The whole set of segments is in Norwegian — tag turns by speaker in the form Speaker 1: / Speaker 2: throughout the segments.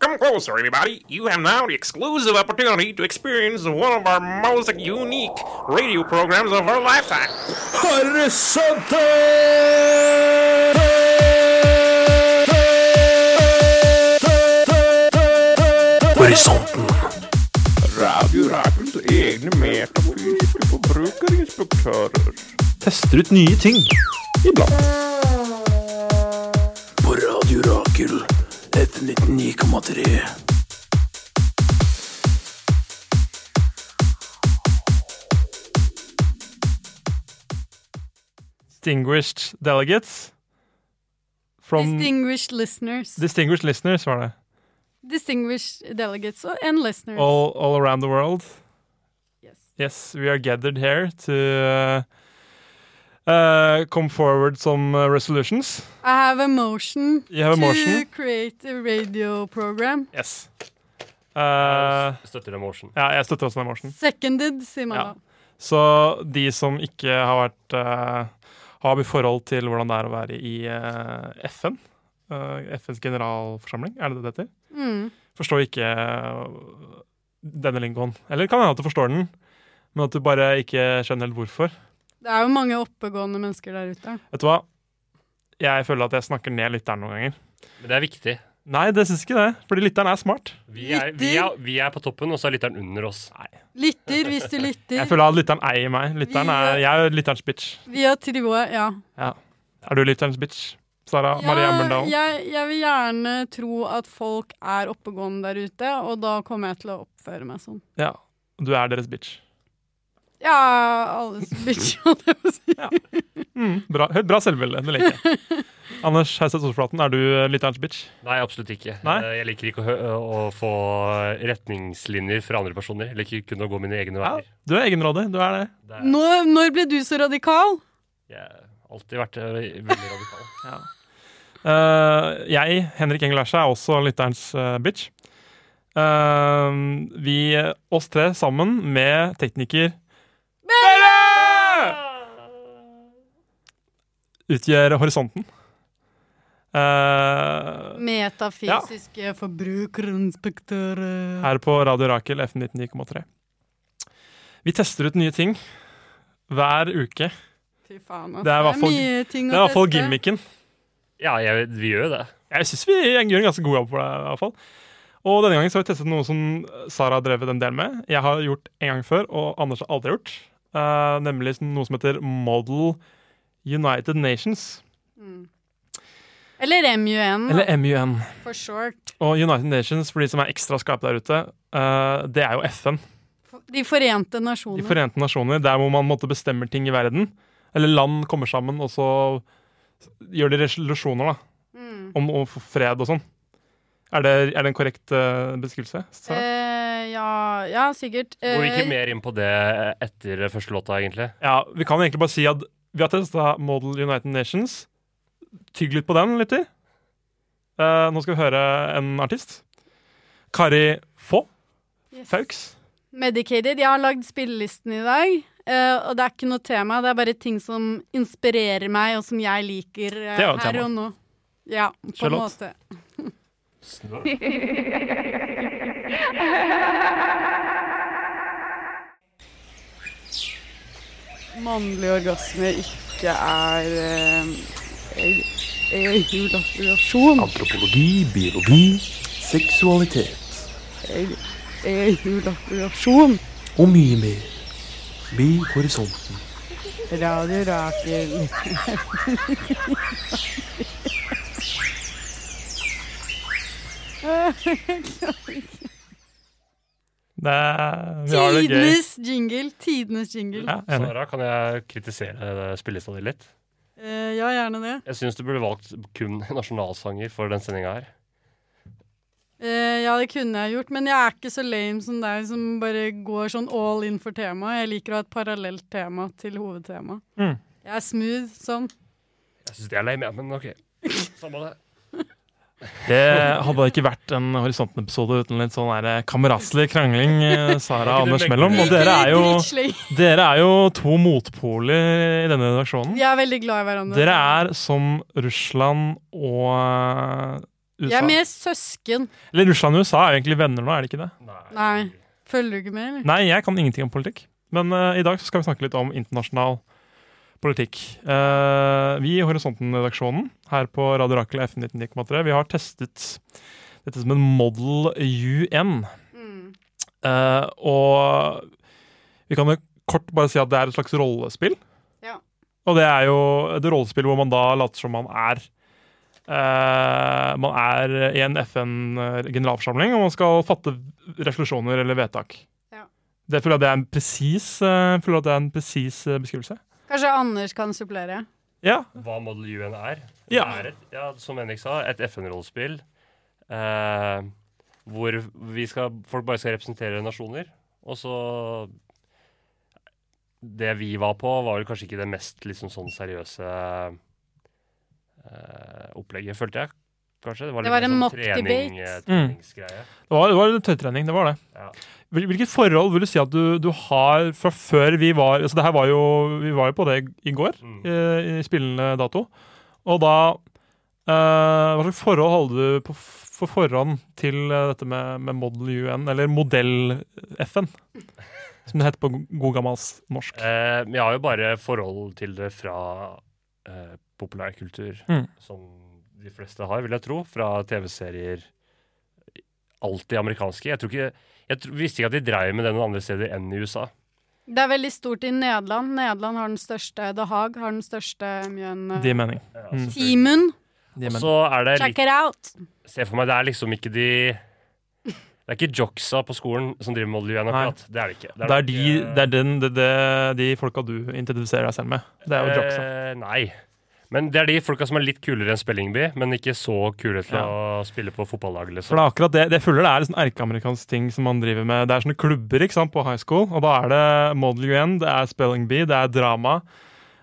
Speaker 1: closer, everybody. You have now the exclusive opportunity to experience one of our most unique radio programs of our lifetime.
Speaker 2: Horisonte! Horisonten. Radio Rackens egne metafysiske forbrukerinspektører.
Speaker 3: Tester ut nye ting.
Speaker 2: Iblant.
Speaker 4: på Radio Rakel F99,3.
Speaker 3: Distinguished delegates. From
Speaker 5: Distinguished listeners.
Speaker 3: distinguished listeners, var det.
Speaker 5: Distinguished delegates og- and listeners.
Speaker 3: All, all around the world.
Speaker 5: Yes.
Speaker 3: Yes, we are gathered here to uh, uh, come forward some uh, resolutions.
Speaker 5: I have a motion
Speaker 3: You have a
Speaker 5: to
Speaker 3: motion?
Speaker 5: create a radio program.
Speaker 3: Yes. Uh,
Speaker 6: Støtter emotion.
Speaker 3: ja, jeg støtter også den motion.
Speaker 5: Seconded, sier man
Speaker 3: Ja.
Speaker 5: da.
Speaker 3: Så de som ikke har vært eh, Har forhold til hvordan det er å være i eh, FN, eh, FNs generalforsamling, er det det heter?
Speaker 5: Mm.
Speaker 3: Forstår ikke eh, denne lingoen. Eller kan hende at du forstår den, men at du bare ikke skjønner helt hvorfor.
Speaker 5: Det er jo mange oppegående mennesker der ute.
Speaker 3: Vet du hva? Jeg føler at jeg snakker ned lytteren noen ganger.
Speaker 6: Men det er viktig.
Speaker 3: Nei, det syns ikke det, fordi lytteren er smart.
Speaker 6: Vi er, vi, er, vi er på toppen, og så er lytteren under oss.
Speaker 5: Lytter hvis du lytter.
Speaker 3: Jeg føler at lytteren eier meg. Lytteren er,
Speaker 5: Vi-
Speaker 3: jeg er lytterens bitch.
Speaker 5: Vi har trioet, ja.
Speaker 3: Er du lytterens bitch? Sara
Speaker 5: Ja,
Speaker 3: Marie Amberdal?
Speaker 5: Jeg, jeg vil gjerne tro at folk er oppegående der ute, og da kommer jeg til å oppføre meg sånn.
Speaker 3: Ja. Du er deres bitch.
Speaker 5: Ja, alles bitch, holdt jeg på å si.
Speaker 3: Mm, bra, høyt, bra selvbilde. Det liker jeg. Anders Heiseth Solflaten, er du eh, lytterens bitch?
Speaker 6: Nei, absolutt ikke.
Speaker 3: Nei?
Speaker 6: Eh, Jeg liker ikke å, hø- å få retningslinjer fra andre personer. Jeg liker kun å gå mine egne
Speaker 3: Ja,
Speaker 6: veier.
Speaker 3: du er egenrådig. Du er det.
Speaker 6: Det er,
Speaker 5: Når, når ble du så radikal?
Speaker 6: jeg har alltid vært eh, veldig radikal.
Speaker 3: Eh, jeg, Henrik Engel Erse, er også lytterens eh, bitch. Eh, vi, eh, oss tre sammen med tekniker Belle! Utgjør horisonten. Eh,
Speaker 5: Metafysiske forbrukerinspektører.
Speaker 3: her på Radio Rakel F99,3. Vi tester ut nye ting hver uke.
Speaker 5: Fy faen, ass.
Speaker 3: Det er i hvert fall-
Speaker 5: mye ting
Speaker 3: Det er i
Speaker 5: å
Speaker 3: hvert fall
Speaker 5: teste.
Speaker 3: gimmicken.
Speaker 6: Ja, jeg, vi gjør jo det.
Speaker 3: Jeg syns vi gjør en ganske god jobb for det. i hvert fall. Og denne gangen så har vi testet noe som Sara har drevet en del med. Jeg har gjort en gang før, og Anders har aldri gjort. Eh, nemlig noe som heter Model United Nations,
Speaker 5: Eller MUN, da,
Speaker 3: eller MUN.
Speaker 5: for short.
Speaker 3: Og United Nations, for de som er ekstra skarpe der ute, eh, det er jo FN.
Speaker 5: De forente
Speaker 3: De
Speaker 5: nasjoner.
Speaker 3: forente nasjoner. Der hvor man måtte bestemmer ting i verden. Eller land kommer sammen, og så gjør de resolusjoner da,
Speaker 5: Mm.
Speaker 3: om, om fred og sånn. Er det, er det en korrekt eh, beskrivelse? Sara?
Speaker 5: Eh, ja, ja, sikkert.
Speaker 6: Går vi
Speaker 5: Eh,
Speaker 6: ikke mer inn på det etter første låta, egentlig?
Speaker 3: Ja, vi kan egentlig bare si at vi har testa Model United Nations. Tygg litt på den, lytter. Eh, nå skal vi høre en artist. Kari Få
Speaker 5: yes.
Speaker 3: Fauks.
Speaker 5: Medicated. Jeg har lagd spillelisten i dag. eh, og det er ikke noe tema, det er bare ting som inspirerer meg, og som jeg liker eh,
Speaker 3: Det er jo et
Speaker 5: her
Speaker 3: tema.
Speaker 5: og nå. Ja, på en
Speaker 3: Charlotte.
Speaker 5: måte. Mannlige orgasmer ikke er ejakulasjon.
Speaker 4: Antropologi, biologi, seksualitet
Speaker 5: Ejakulasjon.
Speaker 4: og mye mer. Bli horisonten.
Speaker 5: Radio Rakel.
Speaker 3: Det, vi har det gøy.
Speaker 5: Tidenes jingle. Tidenes jingle.
Speaker 3: Ja, enig.
Speaker 6: Sara, kan jeg kritisere eh, spillelista di litt?
Speaker 5: Eh, ja, gjerne det.
Speaker 6: Jeg syns du burde valgt kun nasjonalsanger for den sendinga her.
Speaker 5: Eh, ja, det kunne jeg gjort, men jeg er ikke så lame som deg som bare går sånn all in for temaet. Jeg liker å ha et parallelt tema til hovedtemaet.
Speaker 3: Mm.
Speaker 5: Jeg er smooth sånn.
Speaker 6: Jeg syns det er lame, ja, men OK. Samme det.
Speaker 3: det hadde ikke vært en Horisonten-episode uten litt sånn der kameratslig krangling eh, Sara og Anders mellom. Og dere er, jo,
Speaker 5: Dritsleng.
Speaker 3: dere er jo to motpoler i denne redaksjonen.
Speaker 5: Vi er veldig glad i hverandre.
Speaker 3: Dere er som Russland og
Speaker 5: Jeg
Speaker 3: eh, USA.
Speaker 5: er mer søsken.
Speaker 3: Eller Russland og USA er jo egentlig venner nå, er det ikke det?
Speaker 5: Nei. Følger du ikke med, eller?
Speaker 3: Nei, jeg kan ingenting om politikk. Men eh, i dag så skal vi snakke litt om internasjonal politikk. Eh, vi i Horisonten-redaksjonen her på Radio Rakel FM 1993 vi har testet dette som en Model UN. Eh, og vi kan jo kort bare si at det er et slags rollespill.
Speaker 5: Ja.
Speaker 3: Og det er jo et rollespill hvor man da later som man er eh, man er i en FN-generalforsamling, og man skal fatte resolusjoner eller vedtak.
Speaker 5: Ja.
Speaker 3: Det føler jeg det er en presis, eh, føler at det er en presis eh, beskrivelse.
Speaker 5: Kanskje Anders kan supplere?
Speaker 3: Ja,
Speaker 6: Hva Model UN er?
Speaker 3: Ja.
Speaker 6: Det er et, ja som Henrik sa, et FN-rollespill eh, hvor vi skal, folk bare skal representere nasjoner. Og så Det vi var på, var vel kanskje ikke det mest liksom, sånn seriøse eh, opplegget, følte jeg. Kanskje. Det var,
Speaker 5: Det
Speaker 6: litt
Speaker 5: var
Speaker 6: mer
Speaker 5: en
Speaker 6: sånn
Speaker 5: mock
Speaker 6: trening,
Speaker 5: debate.
Speaker 6: eh,
Speaker 3: Mm.
Speaker 6: treningsgreie.
Speaker 3: det var, det var litt tøytrening, det var det.
Speaker 6: Ja.
Speaker 3: Hvil- Hvilket forhold vil du si at du, du har fra før vi var altså det her var jo, Vi var jo på det i går,
Speaker 6: Mm.
Speaker 3: eh, i spillende dato. Og da eh, Hva slags forhold holder du på f- for forhånd til eh, dette med, med Model UN, eller Modell-FN, som det heter på go- god gammels norsk?
Speaker 6: Eh, men jeg har jo bare forhold til det fra eh, populærkultur,
Speaker 3: Mm.
Speaker 6: som de fleste har, vil jeg tro. Fra TV-serier. Alltid amerikanske. Jeg, tror ikke, jeg tro, visste ikke at de dreiv med det noen andre steder enn i USA.
Speaker 5: Det er veldig stort i Nederland. Nederland har den største. The Haag har den største mjøen...
Speaker 3: Det er mening.
Speaker 6: Ja,
Speaker 3: Mm.
Speaker 6: selvfølgelig.
Speaker 5: Timen,
Speaker 6: Så er det
Speaker 5: check
Speaker 6: litt
Speaker 5: it out!
Speaker 6: Se for meg, det er liksom ikke de Det er ikke jocksa på skolen som driver med Olivien
Speaker 3: Nei.
Speaker 6: akkurat. Det er det ikke.
Speaker 3: Det er,
Speaker 6: nok,
Speaker 3: de,
Speaker 6: eh,
Speaker 3: det er den, det, det, de folka du identifiserer deg selv med. Det er jo Jackson.
Speaker 6: Eh, nei. Men det er de folka som er litt kulere enn Spellingby, men ikke så kule til å spille på fotballaget.
Speaker 3: For
Speaker 6: Liksom.
Speaker 3: det er akkurat det, det jeg føler det er en sånn erkeamerikansk ting som man driver med. Det er sånne klubber ikke sant, på high school, og da er det Model UN, det er Spelling Bee, det er drama.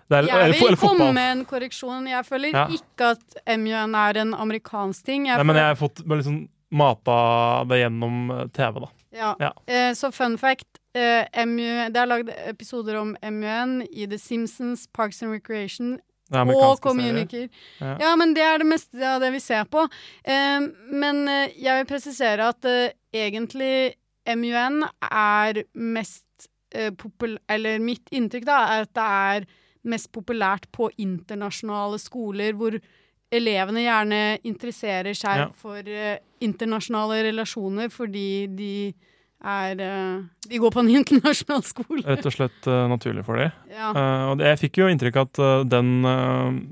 Speaker 3: Det er,
Speaker 5: Jeg
Speaker 3: eller,
Speaker 5: vil
Speaker 3: eller
Speaker 5: komme
Speaker 3: fotball.
Speaker 5: med en korreksjon. Jeg føler
Speaker 3: Ja.
Speaker 5: ikke at MJN er en amerikansk ting. Jeg
Speaker 3: Nei, men
Speaker 5: føler-
Speaker 3: jeg har fått bare liksom mata det gjennom eh, TV, da.
Speaker 5: Ja.
Speaker 3: Ja.
Speaker 5: Eh, så fun fact. Eh, MU, det er lagd episoder om MUN i The Simpsons, Parks and Recreation
Speaker 3: Det er
Speaker 5: og
Speaker 3: amerikanske serier.
Speaker 5: Communicar.
Speaker 3: Ja.
Speaker 5: Ja. men det er det meste av det vi ser på. Eh, men eh, jeg vil presisere at eh, egentlig MUN er mest eh, popul... Eller mitt inntrykk da, er at det er mest populært på internasjonale skoler hvor elevene gjerne interesserer seg
Speaker 3: Ja.
Speaker 5: for eh, internasjonale relasjoner fordi de er eh, De går på en internasjonal skole.
Speaker 3: Rett og slett eh, naturlig for dem.
Speaker 5: Ja.
Speaker 3: Eh, og det, jeg fikk jo inntrykk at eh, den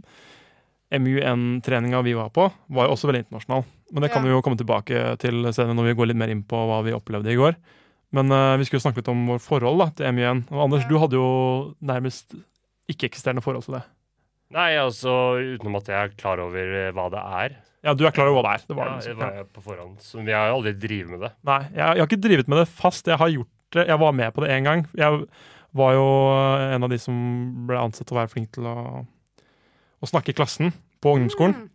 Speaker 3: eh, MUN-treninga vi var på, var jo også veldig internasjonal. Men det kan
Speaker 5: Ja.
Speaker 3: vi jo komme tilbake til senere når vi går litt mer inn på hva vi opplevde i går. Men eh, vi skulle jo snakke litt om vår forhold da, til MUN. Og Anders,
Speaker 5: Ja.
Speaker 3: du hadde jo nærmest ikke-eksisterende forhold til det.
Speaker 6: Nei, altså utenom at jeg er klar over eh, hva det er.
Speaker 3: Ja, du er klar over hva det er. Det var
Speaker 6: ja,
Speaker 3: det.
Speaker 6: det
Speaker 3: liksom.
Speaker 6: var jeg på forhånd. Så jeg har jo aldri drevet med det.
Speaker 3: Nei, jeg, jeg har ikke drivet med det fast. Jeg har gjort det. Jeg var med på det én gang. Jeg var jo eh, en av de som ble ansett til å være flink til å, å snakke i klassen på ungdomsskolen.
Speaker 5: Mm.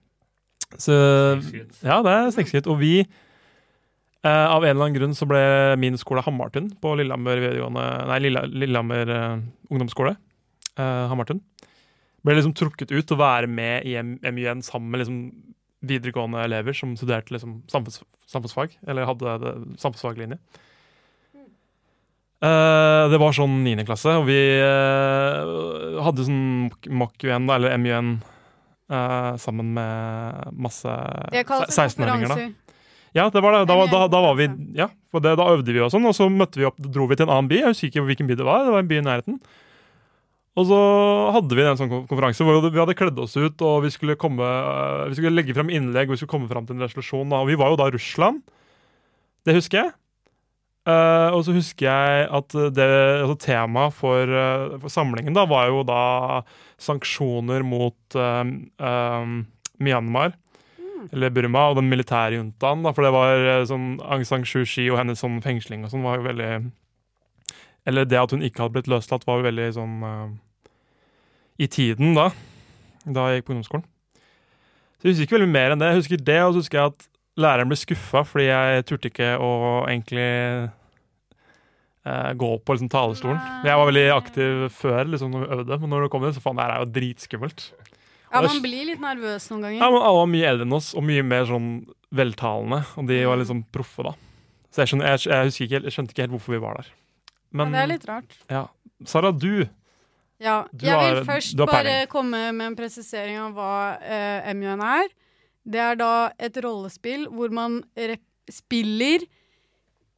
Speaker 3: Så,
Speaker 6: Snikskryt.
Speaker 3: ja, det er snikskritt. Og vi, eh, av en eller annen grunn, så ble min skole Hamartun på Lillehammer, videregående- nei, Lilla, Lillehammer eh, ungdomsskole. Eh, Hamartun. Ble liksom trukket ut til å være med i M- MUN sammen med liksom videregående elever som studerte liksom samfunns, samfunnsfag, eller hadde det- samfunnsfaglinje. Eh, det var sånn 9. klasse, og vi eh, hadde sånn MOC-UN, da, eller MUN, eh, sammen med masse
Speaker 5: Det kalles
Speaker 3: 16-åringer. da.
Speaker 5: konferanser.
Speaker 3: Ja, det var det. Da, var- da, da var vi
Speaker 5: MUN-konferanse.
Speaker 3: Ja, for det, da øvde vi og sånn, og så møtte vi opp, dro vi til en annen by. Jeg husker ikke hvilken by det var. Det var en by i nærheten. Og så hadde vi en sånn kon- konferanse hvor vi hadde kledd oss ut, og vi skulle, komme, øh, vi skulle legge frem innlegg, og vi skulle komme frem til en resolusjon. Da. Og vi var jo da i Russland. Det husker jeg. Eh, og så husker jeg at det, altså temaet for, eh, for samlingen da, var jo da sanksjoner mot eh, eh, Myanmar eller Burma, og den militære juntaen. Da, for det var eh, sånn Aung San Suu Kyi og hennes sånn fengsling og sånn var jo veldig Eller det at hun ikke hadde blitt løslatt, var jo veldig sånn eh, I tiden da, da jeg gikk på ungdomsskolen. Så jeg husker ikke veldig mer enn det. Jeg husker det, og så husker jeg at læreren ble skuffa fordi jeg turte ikke å egentlig eh, gå opp på liksom, talerstolen. Jeg var veldig aktiv før, liksom, når vi øvde, men når det kom dit, så faen, det her er jo dritskummelt.
Speaker 5: Ja, man blir litt nervøs noen ganger.
Speaker 3: Ja, men alle var mye eldre enn oss, og mye mer sånn veltalende. Og de var liksom proffe, da. Så jeg, skjønner, jeg, jeg, husker ikke, helt- jeg skjønte ikke helt hvorfor vi var der.
Speaker 5: Ja,
Speaker 3: Men
Speaker 5: det er litt rart.
Speaker 3: Sara, du
Speaker 5: Ja,
Speaker 3: Du
Speaker 5: jeg vil
Speaker 3: har-
Speaker 5: først
Speaker 3: du har
Speaker 5: bare
Speaker 3: peiling.
Speaker 5: komme med en presisering av hva eh, MUN er. Det er da et rollespill hvor man rep spiller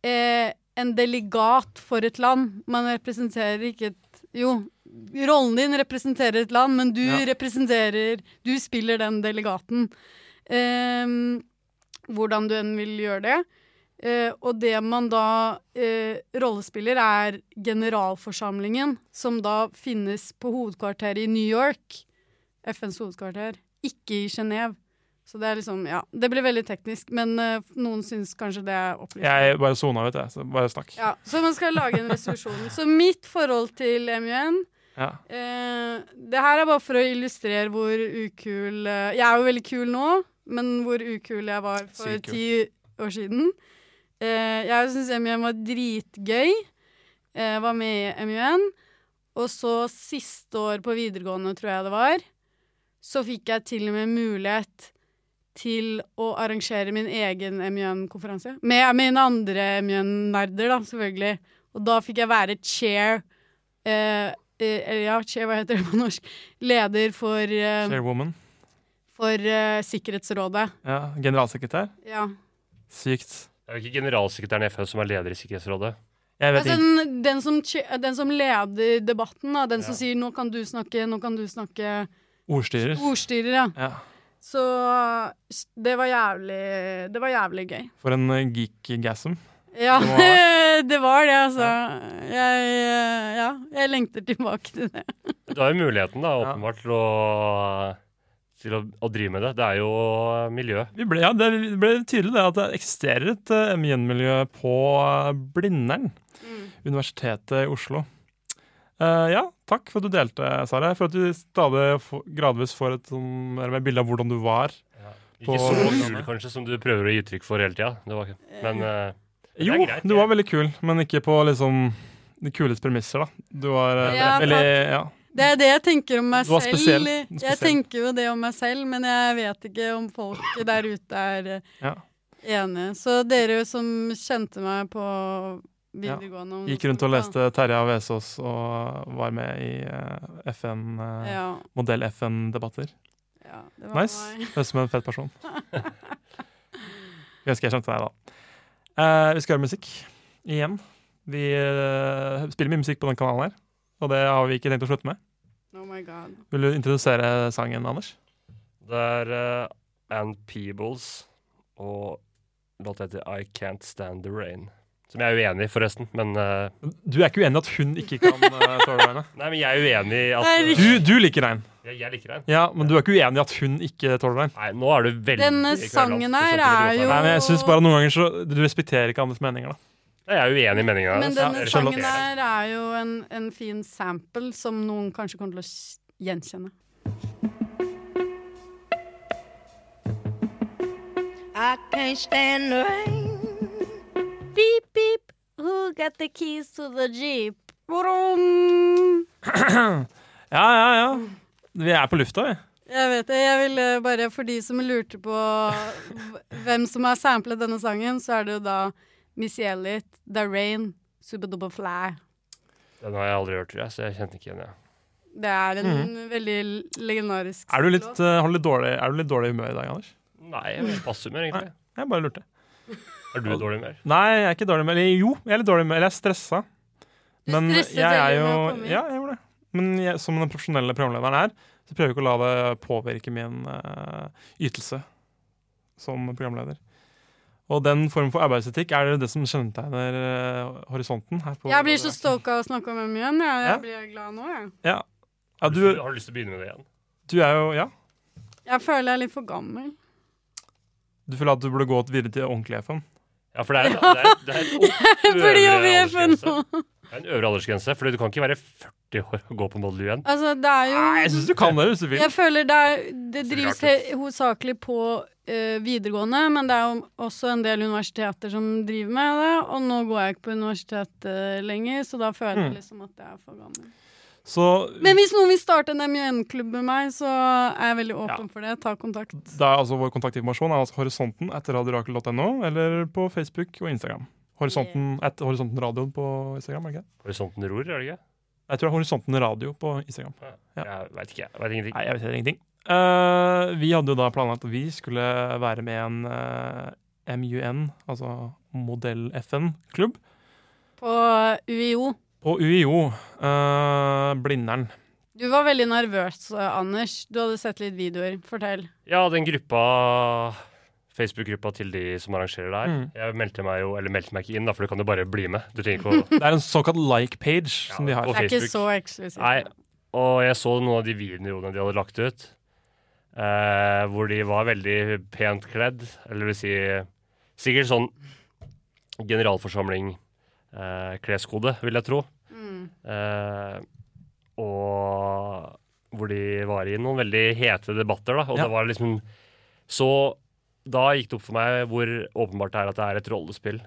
Speaker 5: eh, en delegat for et land. Man representerer ikke et Jo, rollen din representerer et land, men du
Speaker 3: Ja.
Speaker 5: representerer Du spiller den delegaten. Ehm, hvordan du enn vil gjøre det. Eh, og det man da eh, rollespiller, er generalforsamlingen, som da finnes på hovedkvarteret i New York. FNs hovedkvarter. Ikke i Genéve. Så det er liksom Ja, det blir veldig teknisk, men eh, noen syns kanskje det er opplysende.
Speaker 3: Jeg bare sona ut, jeg. Så bare snakk.
Speaker 5: Ja, så man skal lage en resolusjon. Så mitt forhold til MUN
Speaker 3: Ja.
Speaker 5: Eh, det her er bare for å illustrere hvor ukul eh, Jeg er jo veldig kul nå, men hvor ukul jeg var for
Speaker 3: Sykt kul.
Speaker 5: ti år siden. Eh, jeg syns MUN var dritgøy. Eh, var med i MUN. Og så siste år på videregående, tror jeg det var, så fikk jeg til og med mulighet til å arrangere min egen MUN-konferanse. Med mine andre MUN-nerder, da, selvfølgelig. Og da fikk jeg være chair eh, eh, Eller ja, chair, hva heter det på norsk? Leder for, eh,
Speaker 3: Chairwoman.
Speaker 5: for eh, Sikkerhetsrådet.
Speaker 3: Ja. Generalsekretær.
Speaker 5: Ja.
Speaker 3: Sykt.
Speaker 6: Det er jo ikke generalsekretæren i FN som er leder i Sikkerhetsrådet.
Speaker 3: Jeg vet
Speaker 5: Altså,
Speaker 3: ikke.
Speaker 5: den, den, som, cha- den som leder debatten, da, den som
Speaker 6: Ja.
Speaker 5: sier 'nå kan du snakke', 'nå kan du snakke',
Speaker 3: Ordstyrer.
Speaker 5: ordstyrer, ja.
Speaker 3: Ja.
Speaker 5: Så s- det var jævlig Det var jævlig gøy.
Speaker 3: For en eh, geek-gasm.
Speaker 5: Ja,
Speaker 3: Det
Speaker 5: det var det, altså. Jeg, eh, ja, jeg lengter tilbake til det.
Speaker 6: Du har jo muligheten, da,
Speaker 3: Ja.
Speaker 6: åpenbart, til å til å, å drive med det. Det er jo eh, miljø.
Speaker 3: Vi ble, ja, det ble tydelig det at det eksisterer et uh, miljø på eh, Blindern.
Speaker 5: Mm.
Speaker 3: Universitetet i Oslo. Eh, ja, takk for at du delte, Sara. For at du stadig få- gradvis får et sånn, eller et bilde av hvordan du var.
Speaker 6: Ikke
Speaker 3: På-
Speaker 6: så kul, kanskje, som du prøver å gi uttrykk for hele tida. Det var ikke- Men eh, det er
Speaker 3: Jo,
Speaker 6: greit,
Speaker 3: du
Speaker 6: det.
Speaker 3: var veldig kul, men ikke på liksom de kuleste premisser, da. Du var eh,
Speaker 5: Ja,
Speaker 3: veldig ja.
Speaker 5: Det er det jeg tenker om meg
Speaker 3: Du var
Speaker 5: selv.
Speaker 3: spesiell.
Speaker 5: Jeg
Speaker 3: Spesiell.
Speaker 5: tenker jo det om meg selv, men jeg vet ikke om folk der ute er eh,
Speaker 3: Ja.
Speaker 5: enige. Så dere som kjente meg på videregående
Speaker 3: Gikk rundt og leste Terje av Vesaas og var med i eh, FN,
Speaker 5: Ja.
Speaker 3: eh,
Speaker 5: ja,
Speaker 3: modell-FN-debatter.
Speaker 5: ja det var
Speaker 3: Nice.
Speaker 5: meg.
Speaker 3: Høres ut som en fet person. Jeg husker jeg kjente deg da. Eh, vi skal høre musikk igjen. Vi eh, spiller mye musikk på den kanalen her, og det har vi ikke tenkt å slutte med.
Speaker 5: Oh my god.
Speaker 3: Vil du introdusere sangen, Anders?
Speaker 6: Det er eh, Ann Peebles og låta heter I Can't Stand The Rain. Som jeg er uenig i, forresten. Men, eh,
Speaker 3: Du er ikke uenig i at hun ikke kan eh, tåle regnet?
Speaker 6: nei, men jeg er uenig i at
Speaker 5: Nei,
Speaker 3: Du, du liker regn,
Speaker 6: jeg, jeg liker den.
Speaker 3: ja, men du er ikke uenig i at hun ikke tåler regn?
Speaker 6: Nei, nå er du veldig
Speaker 5: Denne
Speaker 6: kverulant.
Speaker 5: sangen her
Speaker 6: Du skjønte
Speaker 5: er jo-
Speaker 6: ikke låta.
Speaker 3: Nei, men jeg synes bare noen ganger så Du respekterer ikke andres meninger, da.
Speaker 6: Nei, Jeg er uenig i meninga.
Speaker 5: Men denne
Speaker 3: jeg skjønner
Speaker 5: sangen
Speaker 3: at-
Speaker 5: her er jo en, en fin sample som noen kanskje kommer til å s- gjenkjenne.
Speaker 7: I can't stand the rain. Beep beep. Who got the keys to the jeep? Vroom.
Speaker 3: Ja, ja, ja. Vi er på lufta, vi.
Speaker 5: Jeg vet det. Jeg ville bare For de som lurte på hv- hvem som har samplet denne sangen, så er det jo da Missy Elliot, The Rain, Superduper Fly.
Speaker 6: Den har jeg aldri hørt, tror jeg, så jeg kjente ikke igjen. Jeg.
Speaker 5: Det er en veldig l- legendarisk
Speaker 3: Mhm. Er du litt, eh, har du litt dårlig, er du litt dårlig i humør i dag, Anders?
Speaker 6: Nei, jeg er i passhumør, egentlig.
Speaker 3: Jeg bare lurte.
Speaker 6: Er du i dårlig humør?
Speaker 3: Nei, jeg er ikke dårlig med Eller jo, jeg er litt dårlig med Eller jeg er stressa.
Speaker 5: Du
Speaker 3: Men
Speaker 5: stresset
Speaker 3: jeg er
Speaker 5: veldig
Speaker 3: jo
Speaker 5: med å komme hit.
Speaker 3: Ja, jeg gjorde det. Men jeg, som den profesjonelle programlederen her, så prøver jeg ikke å la det påvirke min eh, ytelse som programleder. Og den form for arbeidsetikk er det som kjennetegner eh, horisonten her. På
Speaker 5: Jeg blir så stoka av å snakke om dem igjen. Jeg,
Speaker 3: Ja.
Speaker 5: jeg blir glad nå, jeg.
Speaker 3: Ja,
Speaker 6: Har
Speaker 3: du,
Speaker 6: du, lyst- har du lyst til å begynne med det igjen?
Speaker 3: du er jo Ja.
Speaker 5: Jeg føler jeg er litt for gammel.
Speaker 3: Du føler at du burde gå videre til ordentlig FN?
Speaker 6: Ja, for det er, det er, det er en
Speaker 5: Jeg
Speaker 6: øvre
Speaker 5: burde jobbe i FN
Speaker 6: aldersgrense.
Speaker 5: nå.
Speaker 6: Det er en øvre aldersgrense, for du kan ikke være 40 år og gå på Model UN.
Speaker 5: Altså, det er jo
Speaker 3: Nei, jeg syns du kan det hvis du vil.
Speaker 5: Jeg føler det, er, det
Speaker 6: Så
Speaker 5: drives
Speaker 6: rart ut.
Speaker 5: he- hovedsakelig på eh, videregående, men det er jo også en del universiteter som driver med det, og nå går jeg ikke på universitet eh, lenger, så da føler jeg
Speaker 3: Mm.
Speaker 5: liksom at jeg er for gammel.
Speaker 3: Så
Speaker 5: Men hvis noen vil starte en MUN-klubb med meg, så er jeg veldig åpen for det. Ta kontakt.
Speaker 3: det er altså vår kontaktinformasjon er altså horisonten etter radiorakel.no, eller på Facebook og Instagram. Horisonten at horisonten radioen på Instagram, er det ikke? det?
Speaker 6: Horisonten ror, er det ikke?
Speaker 3: Jeg tror det er horisonten radio på Instagram. Ja.
Speaker 6: Jeg veit ikke. Jeg vet ingenting.
Speaker 3: Nei, jeg vet heller ingenting. Eh, vi hadde jo da planlagt at vi skulle være med i en eh, MUN, altså Modell-FN-klubb,
Speaker 5: På UiO.
Speaker 3: på UiO. eh, Blindern.
Speaker 5: Du var veldig nervøs, eh, Anders. Du hadde sett litt videoer. Fortell.
Speaker 6: Ja, den gruppa Facebook-gruppa til de som arrangerer det her.
Speaker 3: Mm.
Speaker 6: Jeg meldte meg jo, eller meldte meg ikke inn, da, for du kan jo bare bli med. Du trenger ikke å
Speaker 3: Det er en såkalt like-page som de har.
Speaker 6: på
Speaker 5: Det er ikke
Speaker 6: Facebook.
Speaker 5: så eksklusivt.
Speaker 6: Nei, og jeg så noen av de videoene de hadde lagt ut, eh, hvor de var veldig pent kledd, eller vil si sikkert sånn generalforsamling-kleskode, eh, vil jeg tro. Eh, og hvor de var i noen veldig hete debatter, da. Og
Speaker 3: Ja.
Speaker 6: det var liksom Så da gikk det opp for meg hvor åpenbart det er at det er et rollespill.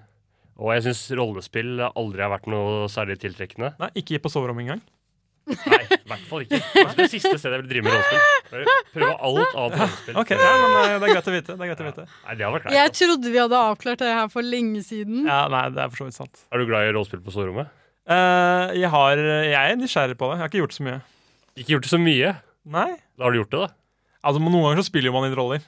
Speaker 6: Og jeg syns rollespill aldri har vært noe særlig tiltrekkende.
Speaker 3: Nei, ikke på soverommet engang.
Speaker 6: Nei, i hvert fall ikke. Det er det siste stedet jeg vil drive med rollespill. Prøve alt annet enn rollespill.
Speaker 3: Ok, ja, men eh, det er greit å vite. Det er greit å vite.
Speaker 6: Nei, det hadde vært
Speaker 5: Jeg
Speaker 6: greit.
Speaker 5: trodde vi hadde avklart det her for lenge siden.
Speaker 3: Ja, nei, det er for så vidt sant.
Speaker 6: Er du glad i rollespill på soverommet?
Speaker 3: Eh, jeg, har, jeg er nysgjerrig på det. Jeg har ikke gjort så mye.
Speaker 6: Ikke gjort det så mye.
Speaker 3: Nei.
Speaker 6: Da har du gjort det, da.
Speaker 3: Altså, men Noen ganger så spiller jo man i roller.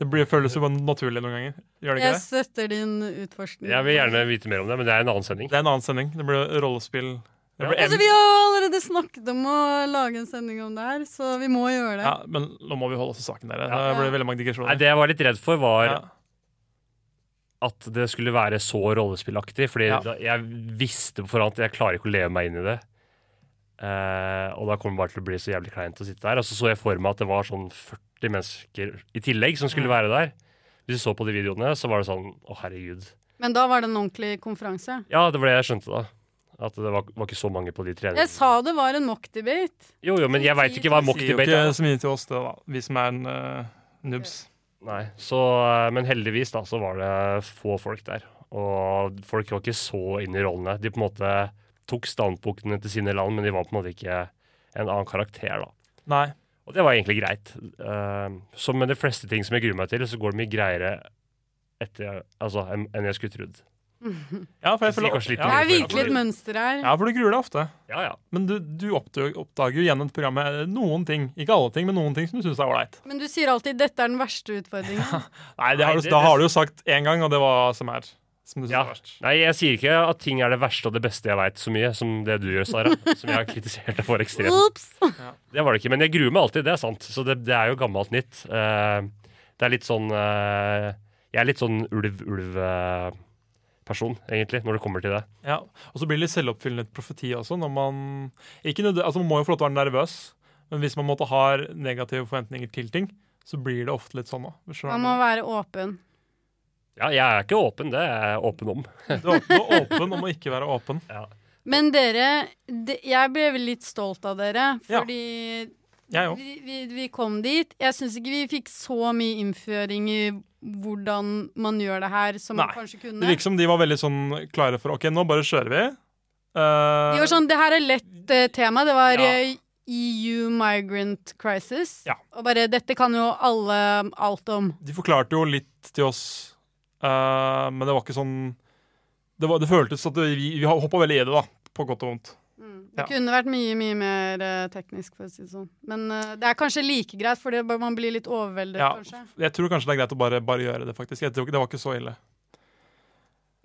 Speaker 3: Det blir, føles jo bare naturlig noen ganger. Gjør det ikke
Speaker 5: Jeg
Speaker 3: det?
Speaker 5: støtter din utforskning.
Speaker 6: Jeg vil gjerne vite mer om det, men det er en annen sending.
Speaker 3: Det er en annen sending. Det blir rollespill. Det blir
Speaker 5: Altså, vi har jo allerede snakket om å lage en sending om det her, så vi må gjøre det.
Speaker 3: Ja, men nå må vi holde oss til saken, dere.
Speaker 6: Ja.
Speaker 3: Det blir veldig mange digresjoner.
Speaker 6: Nei, det jeg var litt redd for, var
Speaker 3: ja.
Speaker 6: at det skulle være så rollespillaktig. Fordi
Speaker 3: Ja.
Speaker 6: da, jeg visste på forhånd at jeg klarer ikke å leve meg inn i det. Eh, og da kommer det bare til å bli så jævlig kleint å sitte der. Og så så jeg for meg at det var sånn 40 mennesker i tillegg som skulle være der. Hvis du så på de videoene, så var det sånn Å, herregud.
Speaker 5: Men da var det en ordentlig konferanse.
Speaker 6: Ja, det var det jeg skjønte da. At det var, var ikke så mange på de treningene.
Speaker 5: Jeg sa det var en mock-debate.
Speaker 6: Jo, jo, men jeg veit ikke hva mock
Speaker 3: Sier jo
Speaker 6: debate
Speaker 3: ikke
Speaker 6: er.
Speaker 3: så mye til oss, det, da. Vi som er en eh, noobs.
Speaker 6: Nei, så, eh, men heldigvis da, så var det få folk der. Og folk var ikke så inn i rollene. De på en måte tok standpunktene til sine land, men de var på en måte ikke en annen karakter, da.
Speaker 3: Nei.
Speaker 6: Og det var egentlig greit. Eh, Som med de fleste ting som jeg gruer meg til, så går det mye greiere etter, altså, enn enn jeg skulle trodd.
Speaker 3: Ja, for jeg
Speaker 6: Så
Speaker 3: føler
Speaker 6: sikkert sliter
Speaker 5: Det
Speaker 3: ja,
Speaker 5: er virkelig et mønster her.
Speaker 3: ja, for du gruer deg ofte.
Speaker 6: Ja, ja.
Speaker 3: Men du, du oppdager, oppdager jo gjennom programmet eh, noen ting. Ikke alle ting, men noen ting som du syns er ålreit.
Speaker 5: Men du sier alltid 'dette er den verste utfordringen'.
Speaker 3: Nei, det har du,
Speaker 6: Nei, det-
Speaker 3: da
Speaker 6: det-
Speaker 3: har du jo sagt én gang, og det var som er. Som du synes
Speaker 6: Ja.
Speaker 3: var verst.
Speaker 6: Nei, jeg sier ikke at ting er det verste og det beste jeg veit, så mye som det du gjør, Sara. Som jeg har kritisert deg for ekstremt.
Speaker 5: Ops!
Speaker 6: Det var det ikke, men jeg gruer meg alltid, det er sant. Så det, det er jo gammelt nytt. Eh, det er litt sånn eh, Jeg er litt sånn ulv-ulv-person, egentlig, når det kommer til det.
Speaker 3: Ja. Og så blir det litt selvoppfyllende profeti også. Når man, ikke nødde, altså man må jo få lov til å være nervøs, men hvis man måtte har negative forventninger til ting, så blir det ofte litt sånn òg.
Speaker 5: Man må
Speaker 3: Du
Speaker 5: være åpen.
Speaker 6: Ja, jeg er ikke åpen, det er jeg åpen om.
Speaker 3: er åpen og åpen om å ikke være åpen.
Speaker 5: Men dere, de, jeg ble vel litt stolt av dere,
Speaker 3: Ja.
Speaker 5: fordi
Speaker 3: Jeg òg.
Speaker 5: vi, vi, vi kom dit. Jeg syns ikke vi fikk så mye innføring i hvordan man gjør det her, som man
Speaker 3: Nei,
Speaker 5: kanskje
Speaker 3: Det
Speaker 5: kunne.
Speaker 3: virker som de var veldig sånn klare for OK, nå bare kjører vi. Eh,
Speaker 5: De var sånn, det her er lett eh, tema. Det var
Speaker 3: Ja.
Speaker 5: eh, EU migrant crisis.
Speaker 3: Ja.
Speaker 5: Og bare dette kan jo alle alt om.
Speaker 3: De forklarte jo litt til oss, eh, men det var ikke sånn Det, var, det føltes at vi, vi hoppa veldig i det, da. På godt og vondt.
Speaker 5: Det
Speaker 3: Ja.
Speaker 5: kunne vært mye, mye mer eh, teknisk, for å si det sånn. Men eh, det er kanskje like greit, for man blir litt overveldet,
Speaker 3: Ja.
Speaker 5: kanskje.
Speaker 3: Jeg tror kanskje det er greit å bare, bare gjøre det, faktisk. Jeg tror ikke, det var ikke så ille.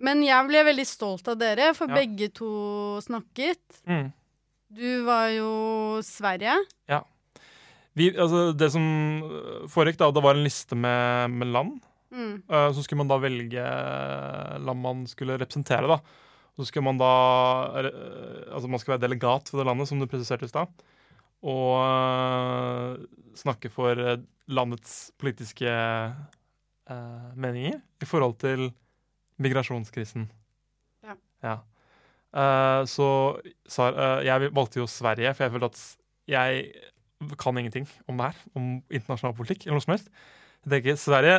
Speaker 5: Men jeg ble veldig stolt av dere, for
Speaker 3: Ja.
Speaker 5: begge to snakket.
Speaker 3: Mm.
Speaker 5: Du var jo Sverige.
Speaker 3: Vi, altså, det som øh, foregikk, da, det var en liste med, med land.
Speaker 5: Mm.
Speaker 3: Øh, Så skulle man da velge eh, land man skulle representere. da. Så skulle man da øh, Altså, man skulle være delegat for det landet, som du presiserte i stad. Og øh, snakke for øh, landets politiske øh, meninger i forhold til migrasjonskrisen.
Speaker 5: Ja.
Speaker 3: Eh, så Sar, eh, jeg valgte jo Sverige, for jeg følte at jeg kan ingenting om det her, om internasjonal politikk eller noe som helst. Jeg tenker, Sverige,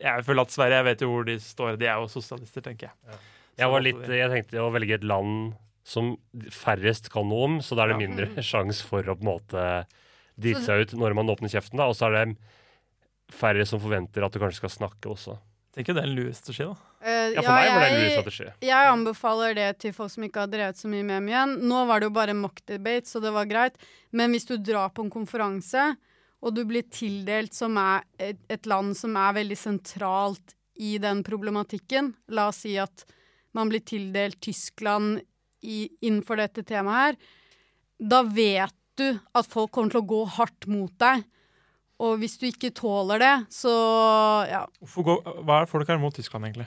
Speaker 3: jeg føler at Sverige, jeg vet jo hvor de står. De er jo sosialister, tenker jeg.
Speaker 6: Jeg,
Speaker 3: Så
Speaker 6: var
Speaker 3: valgte
Speaker 6: litt,
Speaker 3: vi.
Speaker 6: jeg tenkte å velge et land som færrest kan noe om, så da er det mindre sjanse for å på en måte drite seg ut når man åpner kjeften, da. Og så er det færre som forventer at du kanskje skal snakke også.
Speaker 3: Tenker det er en lureste strategi, da.
Speaker 5: Eh,
Speaker 6: Ja, for meg var det en
Speaker 5: jeg-
Speaker 6: lur strategi.
Speaker 5: Jeg anbefaler det til folk som ikke har drevet så mye med MUN. Nå var det jo bare mock debate, så det var greit. Men hvis du drar på en konferanse, og du blir tildelt som er et, et land som er veldig sentralt i den problematikken La oss si at man blir tildelt Tyskland i, innenfor dette temaet her. Da vet du at folk kommer til å gå hardt mot deg. Og hvis du ikke tåler det, så ja.
Speaker 3: Hvorfor går, hva er folk her mot Tyskland, egentlig?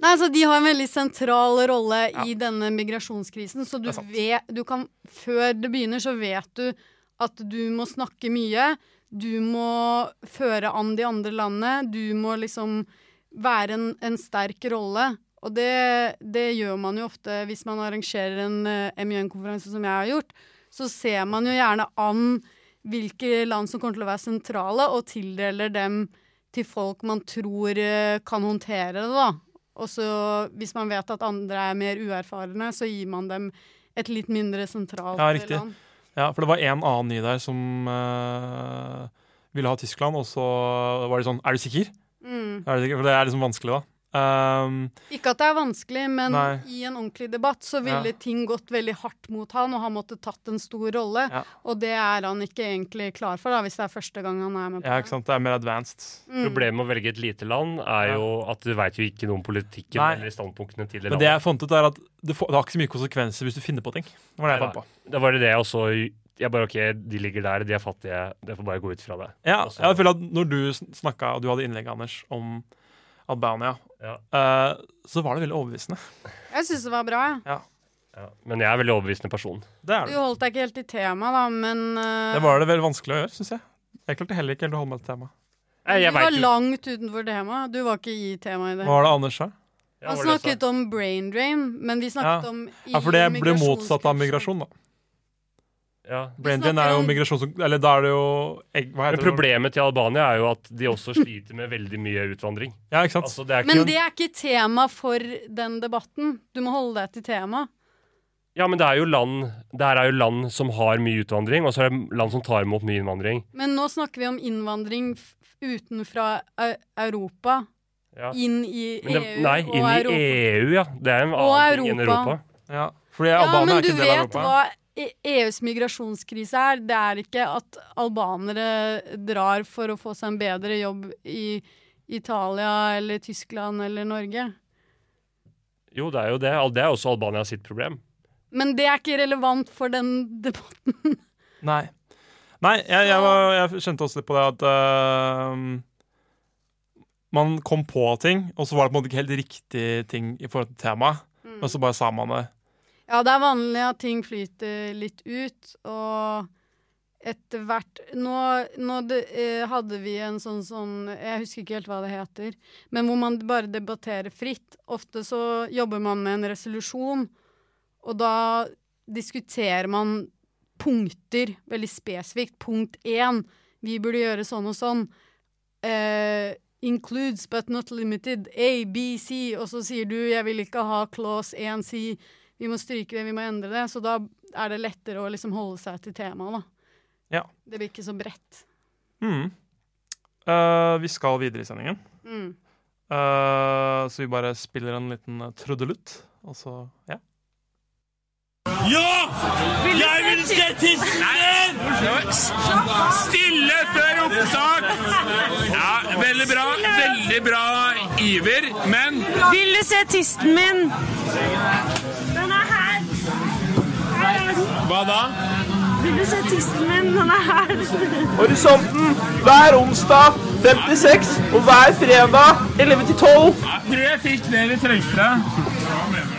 Speaker 5: Nei, altså De har en veldig sentral rolle i denne migrasjonskrisen. Så du
Speaker 3: Det er sant.
Speaker 5: vet, du kan, før det begynner, så vet du at du må snakke mye. Du må føre an de andre landene. Du må liksom være en, en sterk rolle. Og det, det gjør man jo ofte hvis man arrangerer en uh, MJN-konferanse, som jeg har gjort. Så ser man jo gjerne an hvilke land som kommer til å være sentrale, og tildeler dem til folk man tror eh, kan håndtere det, da. Og så hvis man vet at andre er mer uerfarne, så gir man dem et litt mindre sentralt
Speaker 3: Ja, riktig.
Speaker 5: land.
Speaker 3: Ja, for det var en annen ny der som eh, ville ha Tyskland, og så var de sånn Er du sikker?
Speaker 5: Mm.
Speaker 3: Er du sikker? For det er liksom vanskelig, da. Ehm,
Speaker 5: Ikke at det er vanskelig, men
Speaker 3: Nei.
Speaker 5: i en ordentlig debatt så ville
Speaker 3: Ja.
Speaker 5: ting gått veldig hardt mot han, og han måtte tatt en stor rolle.
Speaker 3: Ja.
Speaker 5: Og det er han ikke egentlig klar for, da, hvis det er første gang han er med på
Speaker 3: ja, ikke sant? Det er mer advanced.
Speaker 5: Mm.
Speaker 6: Problemet med å velge et lite land er jo at du veit jo ikke noe om politikken
Speaker 3: Nei.
Speaker 6: eller standpunktene til det
Speaker 3: Men det
Speaker 6: landet.
Speaker 3: jeg fant ut, er at det, får, det har ikke så mye konsekvenser hvis du finner på ting. Det var det jeg fant på.
Speaker 6: Det, var det det jeg også Jeg bare OK, de ligger der, de er fattige, det får bare gå ut fra det.
Speaker 3: Ja,
Speaker 6: Og så-
Speaker 3: jeg føler at når du sn- snakka, og du hadde innlegg, Anders, om Albania,
Speaker 6: Ja.
Speaker 3: eh, så var det veldig overbevisende.
Speaker 5: Jeg syns det var bra. jeg.
Speaker 6: Ja. Men jeg er en veldig overbevisende person.
Speaker 3: Det er
Speaker 5: Du
Speaker 3: det.
Speaker 5: holdt deg ikke helt i temaet, da, men eh,
Speaker 3: Det var det veldig vanskelig å gjøre, syns jeg. Jeg klarte heller ikke helt å holde meg til temaet.
Speaker 6: Jeg, jeg
Speaker 5: du var
Speaker 6: vet jo-
Speaker 5: langt utenfor temaet. Du var ikke i temaet i det.
Speaker 3: Hva var det Anders sa?
Speaker 5: Han
Speaker 6: Ja, hva var det jeg sa?
Speaker 5: snakket om brain drain, men vi snakket
Speaker 3: Ja.
Speaker 5: om i
Speaker 3: Ja, for det ble
Speaker 5: migrasjons-
Speaker 3: motsatt av migrasjon, da.
Speaker 6: Ja.
Speaker 3: Brain drain er jo
Speaker 5: snakker om-
Speaker 3: migrasjon som Eller da er det jo egg, Hva
Speaker 6: Men
Speaker 3: heter det?
Speaker 6: problemet til Albania er jo at de også sliter med veldig mye utvandring.
Speaker 3: Ja, ikke sant?
Speaker 6: Altså, det er ikke
Speaker 5: Men det er ikke tema for den debatten. Du må holde deg til tema.
Speaker 6: Ja, men det er jo land Det her er jo land som har mye utvandring, og så er det land som tar imot mye innvandring.
Speaker 5: Men nå snakker vi om innvandring f- utenfra Au- Europa,
Speaker 6: Ja.
Speaker 5: inn i
Speaker 6: Men det,
Speaker 5: EU
Speaker 6: nei,
Speaker 5: E og
Speaker 6: inn i
Speaker 5: Europa.
Speaker 6: EU, ja. Det er en
Speaker 5: Og
Speaker 6: annen ting enn
Speaker 5: Europa.
Speaker 6: Europa.
Speaker 3: Ja, fordi
Speaker 5: Ja,
Speaker 3: Albania
Speaker 5: men
Speaker 3: er
Speaker 5: du
Speaker 3: ikke en del av
Speaker 5: vet
Speaker 3: Europa.
Speaker 5: hva E- EUs migrasjonskrise er. Det er ikke at albanere drar for å få seg en bedre jobb i Italia eller Tyskland eller Norge.
Speaker 6: Jo, det er jo det. Al- Det er også Albania sitt problem.
Speaker 5: Men det er ikke relevant for den debatten.
Speaker 3: Nei. Nei, jeg, jeg, var, jeg kjente også litt på det at øhm, man kom på ting, og så var det på en måte ikke helt riktig ting i forhold til temaet.
Speaker 5: Mm.
Speaker 3: Og så bare sa man det.
Speaker 5: Ja, det er vanlig at ting flyter litt ut, og etter hvert Nå, nå det, eh, hadde vi en sånn sånn Jeg husker ikke helt hva det heter, men hvor man bare debatterer fritt. Ofte så jobber man med en resolusjon, og da diskuterer man punkter veldig spesifikt. Punkt én Vi burde gjøre sånn og sånn. Eh, includes but not limited. A, B, C. Og så sier du 'jeg vil ikke ha clause 1, C' vi må stryke det, vi må endre det. Så da er det lettere å liksom holde seg til temaet, da.
Speaker 3: Ja.
Speaker 5: Det blir ikke så bredt.
Speaker 3: Mm. Øh, vi skal videre i sendingen,
Speaker 5: Mm.
Speaker 3: Øh, så vi bare spiller en liten øh, trudelutt. Og så ja.
Speaker 7: Jeg vil se
Speaker 8: Stille før opptak! Ja, veldig bra. Veldig bra iver, men
Speaker 7: Vil du se tisten min? Den er her. Her er den.
Speaker 8: Hva da?
Speaker 7: Vil du se tisten min? Den er her.
Speaker 9: Horisonten hver onsdag 56 og hver fredag 11 til 12.
Speaker 8: Jeg tror jeg fikk det vi trengte.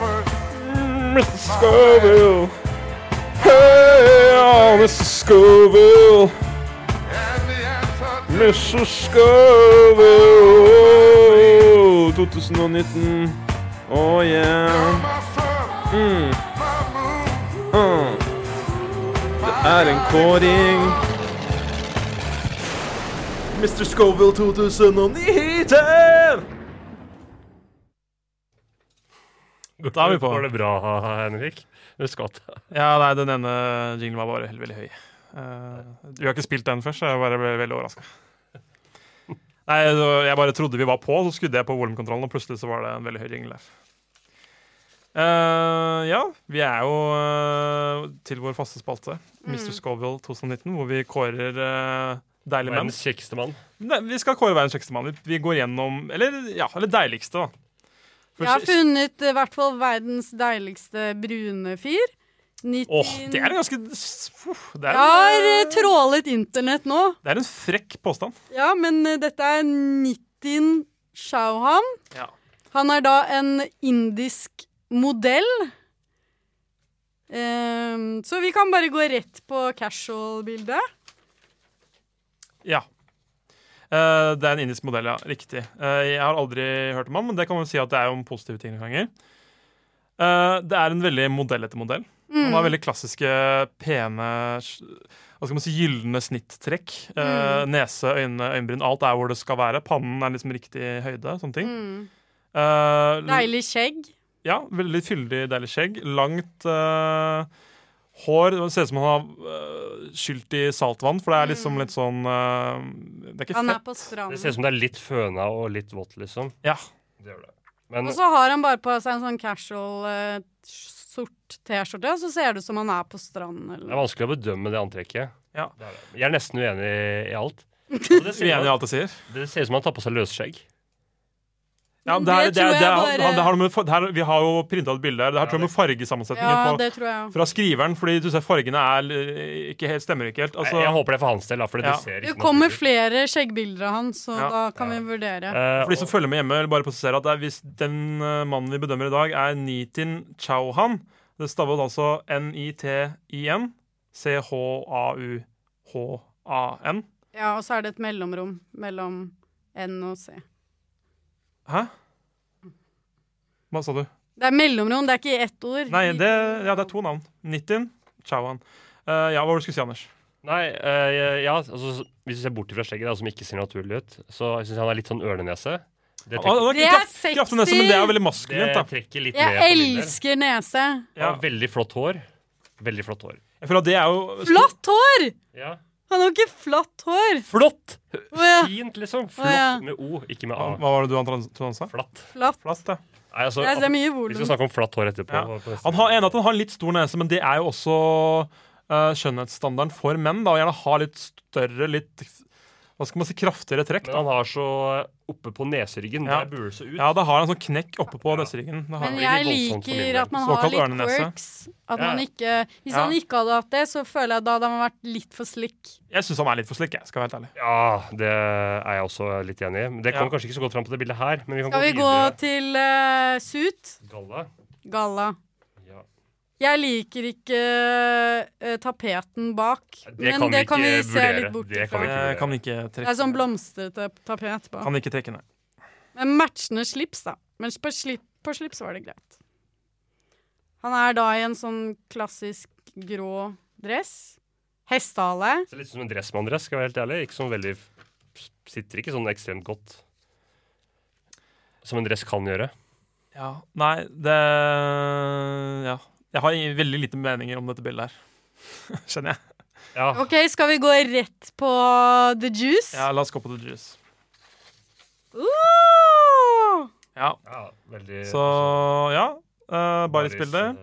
Speaker 2: Mr. Scoville. Hey, oh, Mr. Scoville. Mr. Scoville. 2019. Oh yeah. Mm. Mm. Det er en kåring.
Speaker 9: Mr. Scoville 2019!
Speaker 3: Da er vi på.
Speaker 6: Går det bra, Henrik? Husk at
Speaker 3: Ja, nei, den ene jinglen var bare helt veldig høy. Eh, vi har ikke spilt den først, så jeg bare ble veldig overraska. Nei, det var- jeg bare trodde vi var på, så skrudde jeg på volumkontrollen, og plutselig så var det en veldig høy jingle der. Eh, ja, vi er jo eh, til vår faste spalte, Mr. Scoville 2019, hvor vi kårer eh, deilige menn.
Speaker 6: Verdens kjekkeste mann.
Speaker 3: Nei, vi skal kåre verdens kjekkeste mann. Vi- Vi går gjennom Eller, ja, eller deiligste, da. For-
Speaker 5: Jeg har funnet eh, i hvert fall verdens deiligste brune fyr.
Speaker 3: Åh,
Speaker 5: 19
Speaker 3: det er en ganske s- fuh, det er, en,
Speaker 5: Jeg har eh, trålet internett nå.
Speaker 3: det er en frekk påstand.
Speaker 5: Ja, men eh, dette er Nitin Chauhan.
Speaker 3: Ja.
Speaker 5: Han er da en indisk modell. Ehm, så vi kan bare gå rett på casual-bildet.
Speaker 3: Ja. Eh, det er en indisk modell, ja. Riktig. Eh, jeg har aldri hørt om han, men det kan man si at det er jo en positiv ting noen ganger. Eh, det er en veldig modell etter modell. Han har veldig klassiske, pene sj- hva skal man si, gylne snitttrekk. Eh, Nese, øyne, øyenbryn. Alt er hvor det skal være. Pannen er liksom riktig høyde. sånne ting. Eh,
Speaker 5: Deilig skjegg.
Speaker 3: ja, veldig fyldig, deilig skjegg. Langt eh, hår. Det ser ut som han har eh, skylt i saltvann, for det er liksom litt sånn eh, Det er ikke
Speaker 5: Mm. Han er
Speaker 3: fett.
Speaker 5: på
Speaker 6: Det ser
Speaker 5: stranden.
Speaker 6: ut som det er litt føna og litt vått, liksom.
Speaker 3: Ja.
Speaker 6: Det gjør det. Men
Speaker 5: Og så har han bare på seg en sånn casual eh, sort T-skjorte, og så ser det ut som han er på stranden.
Speaker 6: det er
Speaker 5: Eller.
Speaker 6: vanskelig å bedømme det antrekket.
Speaker 3: Ja.
Speaker 6: Det er det. Jeg er nesten uenig i alt. Og Det
Speaker 3: Vi er
Speaker 6: ser,
Speaker 3: enige i alt jeg sier.
Speaker 6: det ser ut som han tar på seg løsskjegg.
Speaker 3: Ja,
Speaker 5: Men
Speaker 3: det er,
Speaker 5: Mm, det
Speaker 3: det er,
Speaker 5: tror
Speaker 3: det er,
Speaker 5: jeg
Speaker 3: han- det
Speaker 5: bare-
Speaker 3: har noe med, fa- det her, vi har jo printa et bilde her. Det her tror jeg med
Speaker 5: Ja,
Speaker 3: fargesammensetningen på,
Speaker 5: det tror jeg òg.
Speaker 3: fra skriveren, fordi du ser fargene er eh, ikke helt, stemmer ikke helt.
Speaker 6: Jeg-
Speaker 3: Altså,
Speaker 6: jeg håper det er for hans del, da, for
Speaker 3: Ja.
Speaker 6: det ser
Speaker 5: Det
Speaker 6: ikke
Speaker 5: kommer
Speaker 6: naturlig ut.
Speaker 5: flere skjeggbilder av han, så
Speaker 3: Ja.
Speaker 5: da kan vi vurdere.
Speaker 6: Eh,
Speaker 3: for de som følger med hjemme, vil bare presisere at det er, hvis den eh, mannen vi bedømmer i dag, er Nitin Chauhan. Det staves altså N-I-T-I-N. C-H-A-U-H-A-N.
Speaker 5: Ja, og så er det et mellomrom mellom N og C.
Speaker 3: Hæ? Hva sa du?
Speaker 5: Det er mellomrom, det er ikke ett ord.
Speaker 3: Nei, det, ja, det er to navn. Nitin Chauhan. Eh, ja, hva var det du skulle si, Anders?
Speaker 6: Nei, eh, ja, altså, hvis du ser bort fra skjegget, da, som ikke ser naturlig ut, så syns jeg han er litt sånn ørnenese. Det trekker,
Speaker 3: Ah,
Speaker 5: Det er
Speaker 3: kraft-
Speaker 5: sexy!
Speaker 3: kraftig nese, men det er jo veldig maskulint.
Speaker 6: det
Speaker 3: da.
Speaker 6: trekker litt ned
Speaker 5: Jeg
Speaker 6: på bildet.
Speaker 5: elsker nese.
Speaker 6: Ja.
Speaker 3: Ja.
Speaker 6: veldig flott hår. Veldig flott hår.
Speaker 3: Jeg føler at det er jo
Speaker 5: Flatt hår!
Speaker 6: Ja.
Speaker 5: Han har ikke flatt hår.
Speaker 6: Flott!
Speaker 5: Å ja,
Speaker 6: Fint, liksom. Flott
Speaker 5: ja.
Speaker 6: med O, ikke med
Speaker 3: Ah, Hva
Speaker 6: A.
Speaker 3: var det du Anton- Trond sa?
Speaker 6: Flatt.
Speaker 5: flatt.
Speaker 3: Flatt, ja.
Speaker 6: Nei, altså,
Speaker 5: Det er, det er mye
Speaker 6: vi skal
Speaker 5: volum.
Speaker 6: snakke om flatt hår etterpå.
Speaker 3: Ja.
Speaker 6: på neste-
Speaker 3: Han har, enig at han har litt stor nese, men det er jo også eh, skjønnhetsstandarden for menn. da, Å gjerne ha litt større, litt hva skal man si, kraftigere trekk.
Speaker 6: Men
Speaker 3: da.
Speaker 6: han har så oppe på neseryggen.
Speaker 3: Ja.
Speaker 6: Der burde det se ut.
Speaker 3: Ja, da har han sånn knekk oppe på neseryggen. Det har
Speaker 5: Men
Speaker 3: han.
Speaker 5: jeg
Speaker 6: blir voldsomt for min
Speaker 5: liker
Speaker 6: del.
Speaker 5: at man har
Speaker 3: Såkalt
Speaker 5: litt
Speaker 3: ørnenese.
Speaker 5: quirks. At
Speaker 6: Ja.
Speaker 5: man ikke, hvis
Speaker 3: Ja.
Speaker 5: han ikke hadde hatt det, så føler jeg da hadde han vært litt for slick.
Speaker 3: Jeg syns han er litt for slik, jeg. skal være helt ærlig.
Speaker 6: Ja, det er jeg også litt enig i. Men Det
Speaker 3: Ja.
Speaker 6: kommer kanskje ikke så godt fram på det bildet her. Men vi kan
Speaker 5: Skal vi
Speaker 6: gå
Speaker 5: gå
Speaker 6: videre.
Speaker 5: til eh, suit?
Speaker 6: Galla.
Speaker 5: Galla.
Speaker 6: Ja.
Speaker 5: Jeg liker ikke eh, tapeten bak,
Speaker 6: Det
Speaker 5: men
Speaker 6: kan vi
Speaker 5: det kan vi
Speaker 6: ikke
Speaker 5: se
Speaker 6: vurdere.
Speaker 5: litt bort
Speaker 6: Det kan
Speaker 5: fra.
Speaker 6: vi
Speaker 3: Jeg kan ikke
Speaker 5: Det er
Speaker 3: trekke
Speaker 5: sånn blomstrete tapet bak.
Speaker 3: Kan ikke trekke ned.
Speaker 5: Men matchende slips, da. Men på, slip, på slips var det greit. Han er da i en sånn klassisk grå dress. Hestehale.
Speaker 6: Ser litt ut som en dressmann-dress, skal jeg være helt ærlig. Ikke sånn veldig Sitter ikke sånn ekstremt godt. Som en dress kan gjøre.
Speaker 3: Ja, Nei, det Ja. Jeg har i- veldig lite meninger om dette bildet her. Skjønner jeg.
Speaker 6: Ja.
Speaker 5: OK, skal vi gå rett på the juice?
Speaker 3: Ja, La oss gå på the juice.
Speaker 5: Uh!
Speaker 3: Ja,
Speaker 6: ja veldig eh,
Speaker 3: Så ja. Uh, Baris-bildet.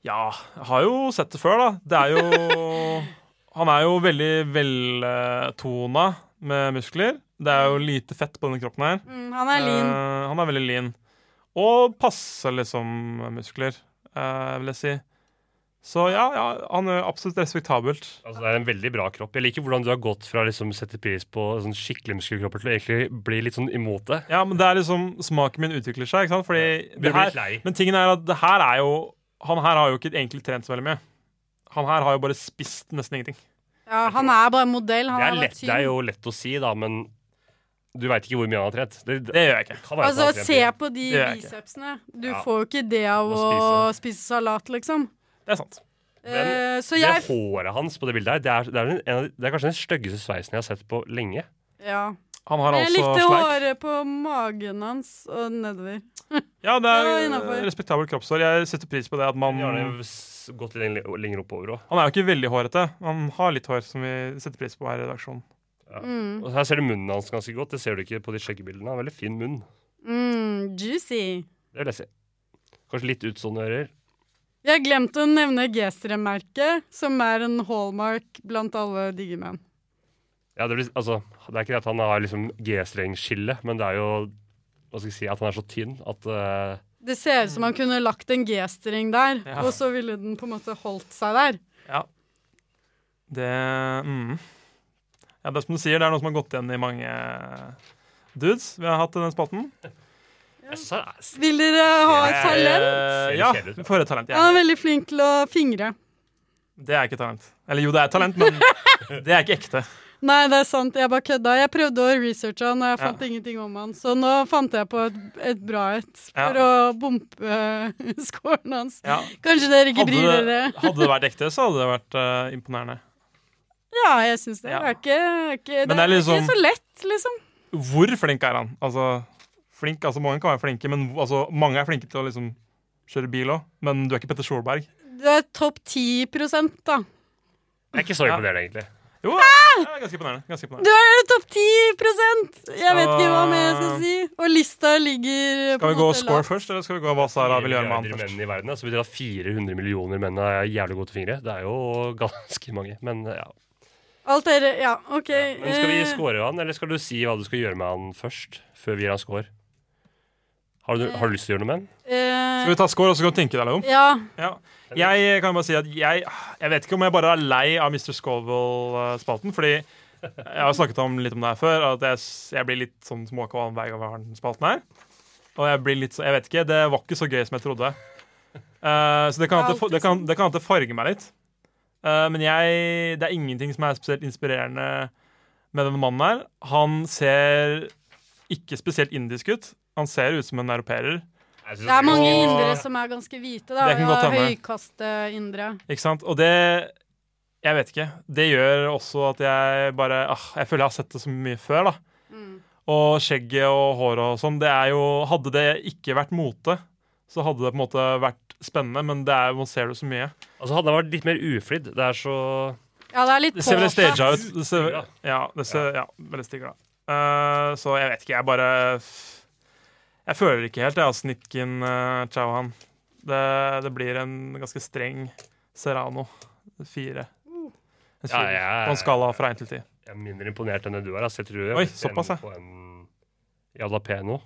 Speaker 3: Ja, jeg har jo sett det før, da. Det er jo Han er jo veldig veltona med muskler. Det er jo lite fett på denne kroppen her.
Speaker 5: Mm, han er lean.
Speaker 3: Eh, han er veldig lean. Og passer liksom muskler, eh, vil jeg si. Så ja, ja, han er absolutt respektabelt.
Speaker 6: Altså, det er en veldig bra kropp. Jeg liker hvordan du har gått fra å liksom, sette pris på sånn skikkelig muskelkropper til å egentlig bli litt sånn imot det.
Speaker 3: Ja, men det er liksom Smaken min utvikler seg, ikke sant? Fordi Eh,
Speaker 6: Du
Speaker 3: det
Speaker 6: blir
Speaker 3: her,
Speaker 6: litt lei.
Speaker 3: Men tingen er at det her er jo Han her har jo ikke egentlig trent så veldig mye. Han her har jo bare spist nesten ingenting.
Speaker 5: Ja, han er bare modell. Han
Speaker 6: Det er,
Speaker 5: er,
Speaker 6: lett, det er jo lett å si, da, men du veit ikke hvor mye han har trent. Det, det
Speaker 3: Det gjør jeg ikke.
Speaker 6: kan være at han
Speaker 5: Altså,
Speaker 6: har trent
Speaker 5: se
Speaker 6: mye.
Speaker 5: på de
Speaker 3: Det gjør jeg ikke.
Speaker 5: bicepsene. Du
Speaker 6: Ja.
Speaker 5: får jo ikke det av
Speaker 6: Å
Speaker 5: å
Speaker 6: spise.
Speaker 5: spise salat, liksom.
Speaker 3: Det er sant.
Speaker 5: Eh, så
Speaker 6: Det
Speaker 5: jeg
Speaker 6: håret hans på det bildet her, det er, det er, en, av de- det er kanskje den styggeste sveisen jeg har sett på lenge.
Speaker 5: Ja.
Speaker 3: Han har
Speaker 5: Jeg
Speaker 3: altså
Speaker 5: likte
Speaker 3: sleik.
Speaker 5: håret på magen hans og nedover.
Speaker 3: Ja, det
Speaker 5: Det var
Speaker 3: er
Speaker 5: innenfor.
Speaker 3: eh, respektabel kroppshår. Jeg setter pris på det at man
Speaker 6: De har
Speaker 5: Mm.
Speaker 6: det
Speaker 3: Han
Speaker 6: s- gått litt lenger- lenger oppover òg.
Speaker 3: er jo ikke veldig hårete. Han har litt hår som vi setter pris på her i redaksjonen.
Speaker 5: Mm.
Speaker 6: Og her ser du munnen hans ganske godt. Det ser du ikke på de skjeggebildene. Han har Veldig fin munn.
Speaker 5: Mm, juicy.
Speaker 6: Det vil jeg si. Kanskje litt utstående ører.
Speaker 5: Jeg har glemt å nevne G-strøm-merket, som er en hallmark blant alle digge menn.
Speaker 6: Ja, det, blir, altså, det er ikke det at han har liksom G-strengskille, men det er jo hva skal jeg si, at han er så tynn at eh,
Speaker 5: Det ser ut som han kunne lagt en G-streng der,
Speaker 3: Mm. Ja.
Speaker 5: og så ville den på en måte holdt seg der.
Speaker 3: Det mm. Ja, det er som du sier, det er noe som har gått igjen i mange eh, dudes vi har hatt i den spalten.
Speaker 6: jeg synes han er s-
Speaker 5: Vil dere ha et talent?
Speaker 3: Eh,
Speaker 6: Ser
Speaker 3: ja,
Speaker 6: kjedelig ut, da.
Speaker 3: vi får et talent.
Speaker 5: Han er
Speaker 3: Ja.
Speaker 5: veldig flink til å fingre.
Speaker 3: Det er ikke talent. Eller jo, det er talent, men det er ikke ekte.
Speaker 5: Nei, det er sant, jeg bare kødda. Jeg prøvde å researche han, og jeg
Speaker 3: Ja.
Speaker 5: fant ingenting om han. Så nå fant jeg på et, et bra et for å bompe eh, scoren hans.
Speaker 3: Ja.
Speaker 5: Kanskje dere ikke
Speaker 3: Hadde,
Speaker 5: bryr
Speaker 3: det,
Speaker 5: dere?
Speaker 3: hadde det vært ekte, så hadde det vært eh, imponerende.
Speaker 5: Ja, jeg syns det.
Speaker 3: Ja.
Speaker 5: Det er ikke, ikke,
Speaker 3: Men
Speaker 5: det er
Speaker 3: det er liksom-
Speaker 5: ikke så lett, liksom.
Speaker 3: Hvor flink er han? Altså, flink, altså Mange kan være flinke, men hvor- altså, mange er flinke til å liksom kjøre bil òg. Men du er ikke Petter Solberg.
Speaker 5: Du er topp 10 da.
Speaker 6: Jeg er ikke så imponert, egentlig.
Speaker 3: Jo, ja, ganske imponerende. Ganske imponerende.
Speaker 5: Du er topp 10 Jeg vet ikke hva mer jeg skal
Speaker 3: Ah.
Speaker 5: si. Og lista ligger
Speaker 3: Skal vi gå score først, eller skal vi gå hva Sara vil gjøre med han først?
Speaker 6: menn i verden, altså, betyr det at 400 millioner menn er jævlig gode til fingre. Det er jo ganske mange. Men ja.
Speaker 5: Alt er Ja, OK.
Speaker 6: Men skal vi
Speaker 5: eh,
Speaker 6: score han, eller skal du si hva du skal gjøre med han først? Før vi gir han score? Har du, har du lyst til å gjøre noe med han?
Speaker 5: eh,
Speaker 3: Skal vi ta score, og så kan du tenke deg litt om?
Speaker 5: ja.
Speaker 3: Ja. Jeg kan bare si at jeg Jeg vet ikke om jeg bare er lei av Mr. Scoville-spalten, fordi jeg har snakket om litt om det her før, at jeg, s- jeg blir litt sånn småkvalm hver gang vi har den spalten her. Og jeg blir litt så, Jeg vet ikke, det var ikke så gøy som jeg trodde. Eh, så det kan at det, det, kan, det kan at det farger meg litt. Eh, men jeg Det er ingenting som er spesielt inspirerende med denne mannen her. Han ser ikke spesielt indisk ut. Han ser ut som en europeer.
Speaker 5: Eh, Det er mange
Speaker 3: Og-
Speaker 5: indre som er ganske hvite, da.
Speaker 3: Det kan godt
Speaker 5: Ja,
Speaker 3: hende.
Speaker 5: Høykasteindre.
Speaker 3: Ikke sant? Og det Jeg vet ikke. Det gjør også at jeg bare ah, Jeg føler jeg har sett det så mye før, da. Og skjegget og håret og sånn, det er jo Hadde det ikke vært mote, så hadde det på en måte vært spennende, men det er, man ser det så mye.
Speaker 6: Altså, hadde han vært litt mer uflidd Det er så
Speaker 5: Ja, det er litt
Speaker 3: Det ser veldig
Speaker 5: påtatt.
Speaker 3: staged ut. Det ser, ja, det ser ja, veldig stigla. Uh, så jeg vet ikke. Jeg bare Jeg føler ikke helt, jeg, altså, Nitkin uh, Chauhan. Det, det blir en ganske streng Serrano. Fire. En
Speaker 6: Ja,
Speaker 3: firer.
Speaker 6: jeg-
Speaker 3: På en skala fra én til ti.
Speaker 6: Jeg er mindre imponert enn det du er. Altså. Jeg tror jeg
Speaker 3: Oi,
Speaker 6: vil se
Speaker 3: såpass,
Speaker 6: den
Speaker 3: ja.
Speaker 6: På en jalapeno.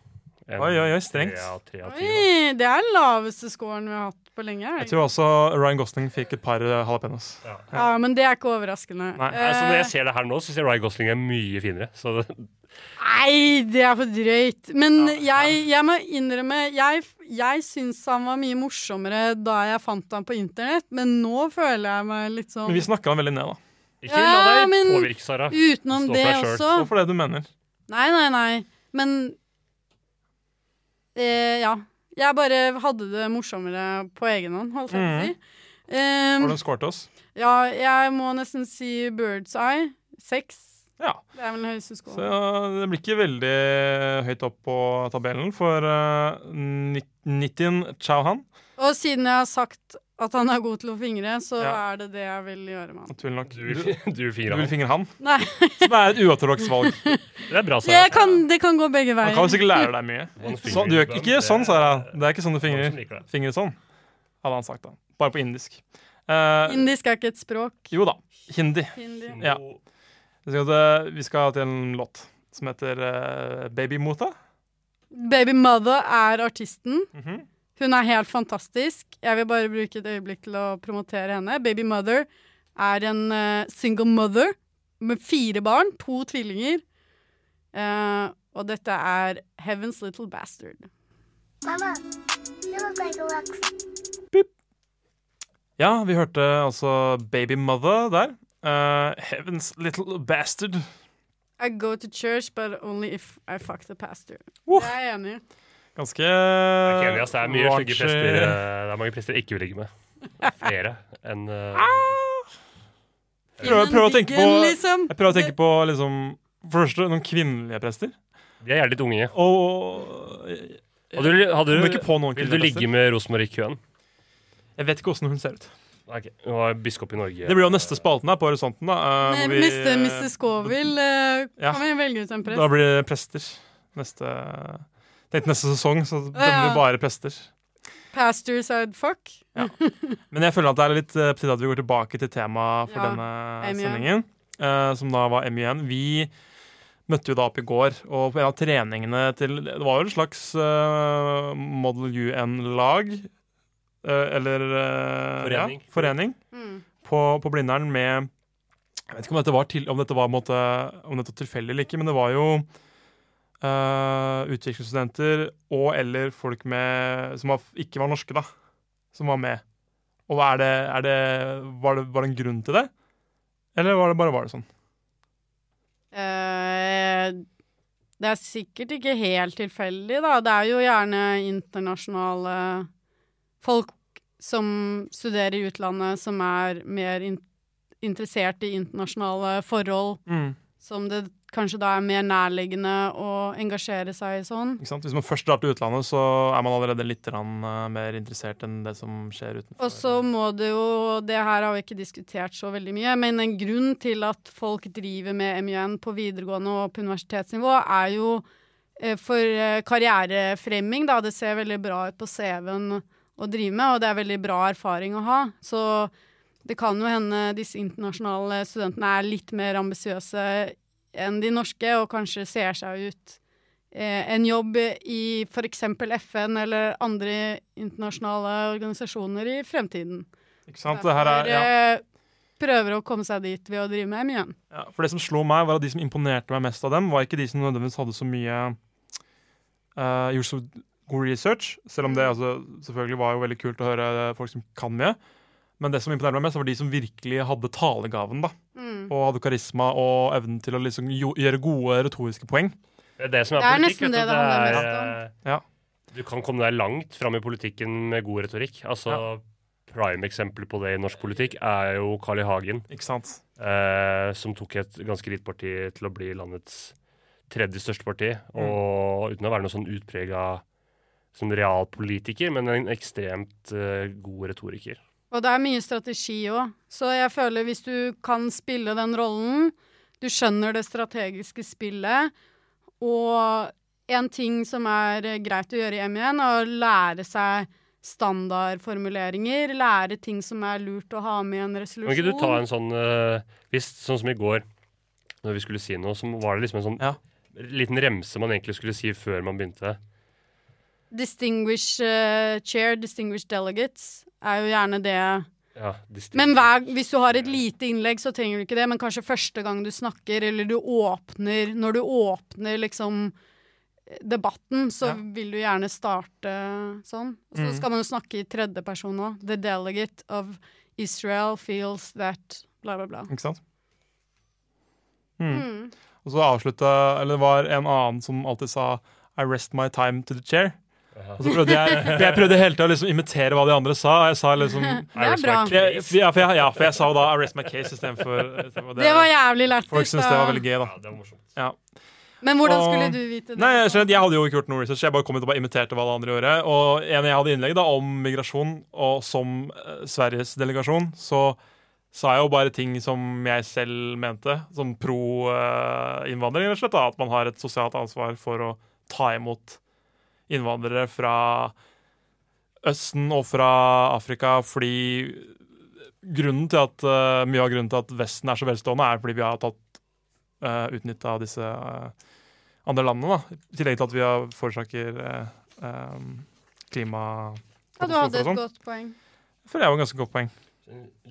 Speaker 6: En
Speaker 3: Oi, oi, oi, strengt.
Speaker 6: tre av- tre av ti, da.
Speaker 5: Oi, det er den laveste scoren vi har hatt på lenge. er det
Speaker 3: Jeg tror også Ryan Gosling fikk et par uh, jalapeños.
Speaker 5: ikke? Ja, Men det er ikke overraskende.
Speaker 3: Nei, altså,
Speaker 5: Eh,
Speaker 6: Nei, så når jeg ser det her nå, så syns jeg Ryan Gosling er mye finere. Så det,
Speaker 5: Nei, det er for drøyt. Men jeg, jeg må innrømme Jeg, jeg syns han var mye morsommere da jeg fant han på internett, men nå føler jeg meg litt sånn
Speaker 3: Men vi snakka han veldig ned, da.
Speaker 6: ikke la
Speaker 5: Ja,
Speaker 6: deg
Speaker 5: men-
Speaker 6: påvirke, Sara.
Speaker 5: Utenom
Speaker 6: Stå for
Speaker 5: det
Speaker 6: deg selv.
Speaker 5: også.
Speaker 3: Hvorfor det du mener?
Speaker 5: Nei, nei, nei. Men eh, Ja. Jeg bare hadde det morsommere på egen hånd, holdt jeg på
Speaker 6: Mm.
Speaker 5: å si. Ehm,
Speaker 3: Har du en score til oss?
Speaker 5: ja, jeg må nesten si Bird's Eye. Seks.
Speaker 3: Ja.
Speaker 5: Det er vel den høyeste
Speaker 3: Så
Speaker 5: skålen.
Speaker 3: ja, det blir ikke veldig høyt opp på tabellen for uh, Nit- Nitin Chauhan.
Speaker 5: Og siden jeg har sagt at han er god til å fingre, så
Speaker 3: Ja.
Speaker 5: er det det jeg vil gjøre med han.
Speaker 3: Naturlig nok.
Speaker 6: Du, vil- du vil fingre
Speaker 3: Du vil
Speaker 6: han.
Speaker 3: fingre han?
Speaker 5: Nei,
Speaker 3: Som er et uortodoks valg.
Speaker 6: Det er bra, Sara.
Speaker 5: det kan, det kan gå begge
Speaker 3: Han kan jo
Speaker 5: veier.
Speaker 3: sikkert lære deg mye.
Speaker 6: One finger
Speaker 3: Sånn, du gjør
Speaker 6: bump,
Speaker 3: ikke, ikke sånn,
Speaker 6: det er-
Speaker 3: Sara. Det er ikke sånn du
Speaker 6: Folk som
Speaker 3: fingrer.
Speaker 6: liker det.
Speaker 3: Fingrer sånn, hadde han sagt da. Bare på indisk. Eh,
Speaker 5: Indisk er ikke et språk.
Speaker 3: jo da. Hindi.
Speaker 5: Hindi.
Speaker 3: Ja. Vi skal, til- vi skal til en låt som heter eh, Baby Mota.
Speaker 5: Baby Mother er artisten.
Speaker 3: Mhm.
Speaker 5: Hun er helt fantastisk. Jeg vil bare bruke et øyeblikk til å promotere henne. Baby Mother er en eh, single mother med fire barn, to tvillinger. Eh, og dette er Heaven's Little Bastard.
Speaker 10: Mama, you look like a rock
Speaker 3: Ja, vi hørte altså Baby Mother der. Eh, Heaven's Little Bastard.
Speaker 5: I go to church, but only if I fuck the pastor.
Speaker 3: Woof.
Speaker 5: Det er jeg enig i.
Speaker 3: Ganske
Speaker 6: Jeg er ikke enig, ass. Det er mye eh, slike
Speaker 3: raunchy.
Speaker 6: prester eh, Det er mange prester jeg ikke vil ligge med. Flere enn eh,
Speaker 3: Ah! Prøv, prøv å tenke på,
Speaker 6: Gjennom diggen, liksom.
Speaker 3: jeg prøver å tenke på liksom, For det første, noen kvinnelige prester.
Speaker 6: De er gjerne litt unge.
Speaker 3: Og, eh,
Speaker 6: Hadde du, hadde
Speaker 3: Kommer
Speaker 6: du,
Speaker 3: ikke på noen
Speaker 6: vil du
Speaker 3: kvinnelige
Speaker 6: ligge
Speaker 3: prester.
Speaker 6: med Rosmarie Køhn?
Speaker 3: Jeg vet ikke åssen hun ser ut.
Speaker 6: Ok, Hun var biskop i Norge.
Speaker 3: Det blir jo neste spalten her på horisonten. Da, eh, hvor vi-
Speaker 5: Mr. Mr. Scoville eh,
Speaker 3: Ja.
Speaker 5: kan vi velge ut en prest.
Speaker 3: da blir det prester. Neste Tenkte neste sesong, så
Speaker 5: Ja, ja.
Speaker 3: blir det bare prester.
Speaker 5: Pastors I'd fuck.
Speaker 3: Men jeg føler at det er litt eh, på tide at vi går tilbake til temaet for
Speaker 5: Ja,
Speaker 3: denne
Speaker 5: M1.
Speaker 3: sendingen, eh, som da var M1. Vi møtte jo da opp i går, og på en av treningene til Det var jo en slags eh, Model UN-lag, eh, eller eh,
Speaker 6: Forening.
Speaker 3: Ja, forening
Speaker 6: Mm.
Speaker 3: på, på Blindern med Jeg vet ikke om dette var, til, om dette var, på en måte, om dette var tilfeldig eller ikke, men det var jo eh, utviklingsstudenter og eller folk med, som var, ikke var norske, da, som var med. Og er det, er det, var, det, var det en grunn til det? Eller var det bare var det sånn?
Speaker 5: Eh, det er sikkert ikke helt tilfeldig, da. Det er jo gjerne internasjonale folk som studerer i utlandet, som er mer in interessert i internasjonale forhold,
Speaker 3: Mm.
Speaker 5: som det kanskje da er mer nærliggende å engasjere seg i sånn.
Speaker 3: Ikke sant? Hvis man først drar til utlandet, så er man allerede litt grann, eh, mer interessert enn det som skjer utenfor.
Speaker 5: Og så må det jo Det her har vi ikke diskutert så veldig mye, men en grunn til at folk driver med MUN på videregående og på universitetsnivå, er jo eh, for eh, karrierefremming, da. Det ser veldig bra ut på CV-en å drive med, og det er veldig bra erfaring å ha. Så det kan jo hende disse internasjonale studentene er litt mer ambisiøse enn de norske, og kanskje ser seg ut eh, en jobb i f.eks. FN eller andre internasjonale organisasjoner i fremtiden.
Speaker 3: Ikke sant? Det her er, ja.
Speaker 5: Dere prøver å komme seg dit ved å drive med MUN.
Speaker 3: Ja, For det som slo meg, var at de som imponerte meg mest av dem, var ikke de som nødvendigvis hadde så mye eh, Gjort så god research, selv
Speaker 5: Mm.
Speaker 3: om det altså, selvfølgelig var jo veldig kult å høre eh, folk som kan mye. Men det som imponerte meg mest, var de som virkelig hadde talegaven. da.
Speaker 5: Mm.
Speaker 3: Og hadde karisma og evnen til å liksom jo, gjøre gode retoriske poeng.
Speaker 6: Det er det som er,
Speaker 5: Det er
Speaker 6: politikk.
Speaker 5: nesten
Speaker 6: vet du.
Speaker 5: det det handler
Speaker 6: er,
Speaker 5: mest
Speaker 3: om. Ja.
Speaker 6: Du kan komme deg langt fram i politikken med god retorikk. Altså, Prime-eksempelet på det i norsk politikk er jo Carl I. Hagen.
Speaker 3: Ikke sant?
Speaker 6: Eh, som tok et ganske lite parti til å bli landets tredje største parti. Og uten å være noe sånn utprega som realpolitiker, men en ekstremt eh, god retoriker.
Speaker 5: Og det er mye strategi òg, så jeg føler hvis du kan spille den rollen, du skjønner det strategiske spillet, og en ting som er eh, greit å gjøre i M1, er å lære seg standardformuleringer, lære ting som er lurt å ha med i en resolusjon.
Speaker 6: Kan ikke du ta en sånn eh, Hvis sånn som i går, når vi skulle si noe, så var det liksom en sånn liten remse man egentlig skulle si før man begynte.
Speaker 5: Distinguished eh, chair, distinguished delegates er jo gjerne det.
Speaker 6: Ja, distinct.
Speaker 5: Men hver, hvis du har et lite innlegg, så trenger du ikke det, men kanskje første gang du snakker, eller du åpner Når du åpner liksom debatten, så vil du gjerne starte sånn. Og så
Speaker 11: Mm.
Speaker 5: skal man jo snakke i tredjeperson òg. The delegate of Israel feels that bla, bla, bla.
Speaker 3: Ikke sant?
Speaker 5: Mm. Hmm.
Speaker 3: Mm. Og så avslutta Eller det var en annen som alltid sa I rest my time to the chair. Og så prøvde jeg, for jeg prøvde hele tida å liksom imitere hva de andre sa. Jeg sa liksom
Speaker 5: Det er I rest my bra.
Speaker 3: For jeg, ja, for jeg, ja, for jeg sa jo da I rest my case istedenfor istedenfor
Speaker 5: Det var jævlig lættis,
Speaker 3: Folk syntes det var
Speaker 5: da.
Speaker 3: veldig gøy, da. Ja, det var morsomt.
Speaker 5: Men hvordan skulle du vite det?
Speaker 3: Nei, jeg, skjønner at jeg hadde jo ikke gjort noe research. Jeg bare kom hit og bare imiterte hva alle andre gjorde. Og en jeg hadde innlegg da om migrasjon, og som eh, Sveriges delegasjon, så sa jeg jo bare ting som jeg selv mente, som pro-innvandring, rett og slett. Da. At man har et sosialt ansvar for å ta imot innvandrere fra Østen og fra Afrika, fordi grunnen til at, eh, mye av grunnen til at Vesten er så velstående, er fordi vi har tatt uh, utnytta disse eh, andre landene. Da. I tillegg til at vi har forårsaker uh, klima...
Speaker 5: Ja, du hadde
Speaker 3: og sånn.
Speaker 5: et godt poeng.
Speaker 3: Jeg føler jeg var et ganske godt poeng.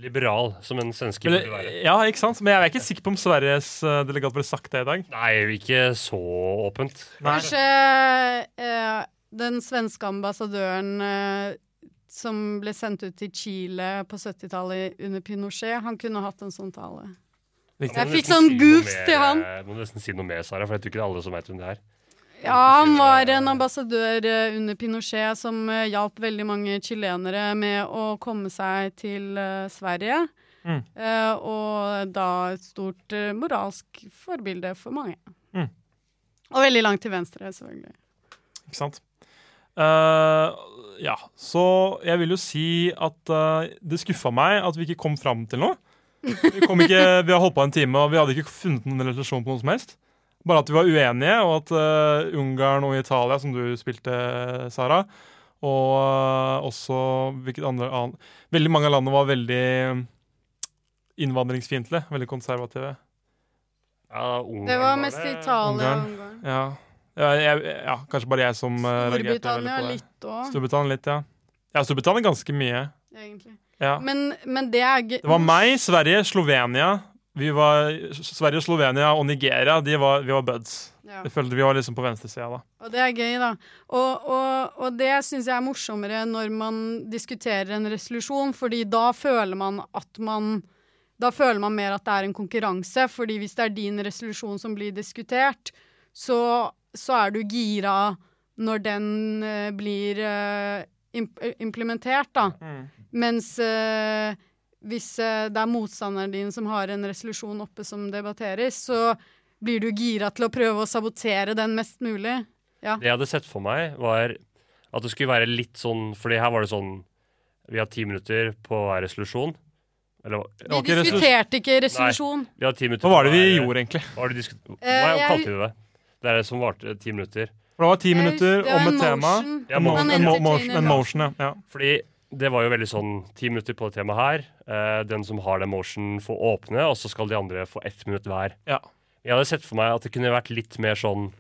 Speaker 6: Liberal, som en svenske
Speaker 3: Eller,
Speaker 6: burde være.
Speaker 3: eh, ja, ikke sant? Men jeg er ikke sikker på om Sveriges eh, delegat ble sagt det i dag.
Speaker 6: Nei, ikke så åpent.
Speaker 5: Kanskje eh, den svenske ambassadøren eh, som ble sendt ut til Chile på 70-tallet under Pinochet, han kunne hatt en sånn tale.
Speaker 6: Må
Speaker 5: Jeg
Speaker 6: nesten
Speaker 5: fikk sånn
Speaker 6: noe
Speaker 5: goofs
Speaker 6: mer- eh,
Speaker 5: til han.
Speaker 6: Må nesten si noe mer, Sara, for jeg tror ikke det er alle som vet hvem det er.
Speaker 5: Ja, han var en ambassadør eh, under Pinochet som eh, hjalp veldig mange chilenere med å komme seg til eh, Sverige.
Speaker 3: Mm.
Speaker 5: Eh, og da et stort eh, moralsk forbilde for mange.
Speaker 3: Mm.
Speaker 5: Og veldig langt til venstre, selvfølgelig.
Speaker 3: Ikke sant? Eh, ja, så jeg vil jo si at eh, det skuffa meg at vi ikke kom fram til noe. Vi, kom ikke, vi har holdt på en time, og vi hadde ikke funnet noen relasjon på noe som helst. Bare at vi var uenige, og at eh, Ungarn og Italia, som du spilte, Sara, og eh, også hvilket andre an... Veldig mange av landene var veldig innvandringsfiendtlige, veldig konservative.
Speaker 5: Det var mest Italia og Ungarn.
Speaker 3: Ja. Ja, jeg, ja, kanskje bare jeg som eh, reagerte veldig
Speaker 5: Storbritannia
Speaker 3: på det.
Speaker 5: litt òg,
Speaker 3: Storbritannia litt, ja. Ja, Storbritannia ganske mye.
Speaker 5: egentlig.
Speaker 3: Ja.
Speaker 5: Men, men det er gøy.
Speaker 3: Det var meg, Sverige, Slovenia. Vi var, Sverige, Slovenia og Nigeria, de var, vi var buds.
Speaker 5: Ja.
Speaker 3: Jeg følte vi var liksom på venstresida da.
Speaker 5: Og det er gøy, da. Og, og, og det syns jeg er morsommere når man diskuterer en resolusjon, fordi da føler man at man Da føler man mer at det er en konkurranse, fordi hvis det er din resolusjon som blir diskutert, så, så er du gira når den eh, blir eh, imp implementert, da. Mens eh, hvis eh, det er motstanderen din som har en resolusjon oppe som debatteres, så blir du gira til å prøve å sabotere den mest mulig. Ja.
Speaker 6: Det jeg hadde sett for meg, var at det skulle være litt sånn Fordi her var det sånn Vi har ti minutter på hver resolusjon. Eller,
Speaker 5: Vi diskuterte ikke resolusjon.
Speaker 6: Nei, vi har ti minutter
Speaker 3: Hva var
Speaker 6: på
Speaker 3: det vi
Speaker 6: hver-
Speaker 3: gjorde, egentlig?
Speaker 6: Hva, har du diskut- hva
Speaker 5: Eh, jeg-
Speaker 6: kalte de det? Det er det som varte ti minutter.
Speaker 3: For det var ti
Speaker 5: Jeg
Speaker 3: minutter
Speaker 5: husker det var
Speaker 3: om
Speaker 5: en
Speaker 3: et tema.
Speaker 5: motion.
Speaker 6: Ja,
Speaker 3: En mo-
Speaker 6: motion.
Speaker 3: en mo- motion,
Speaker 5: Han
Speaker 3: en
Speaker 5: entertainer.
Speaker 3: motion, ja. ja.
Speaker 6: Fordi det var jo veldig sånn ti minutter på det temaet her. Eh, den som har den motion, får åpne, og så skal de andre få ett minutt hver.
Speaker 3: Ja.
Speaker 6: Jeg hadde sett for meg at det kunne vært litt mer sånn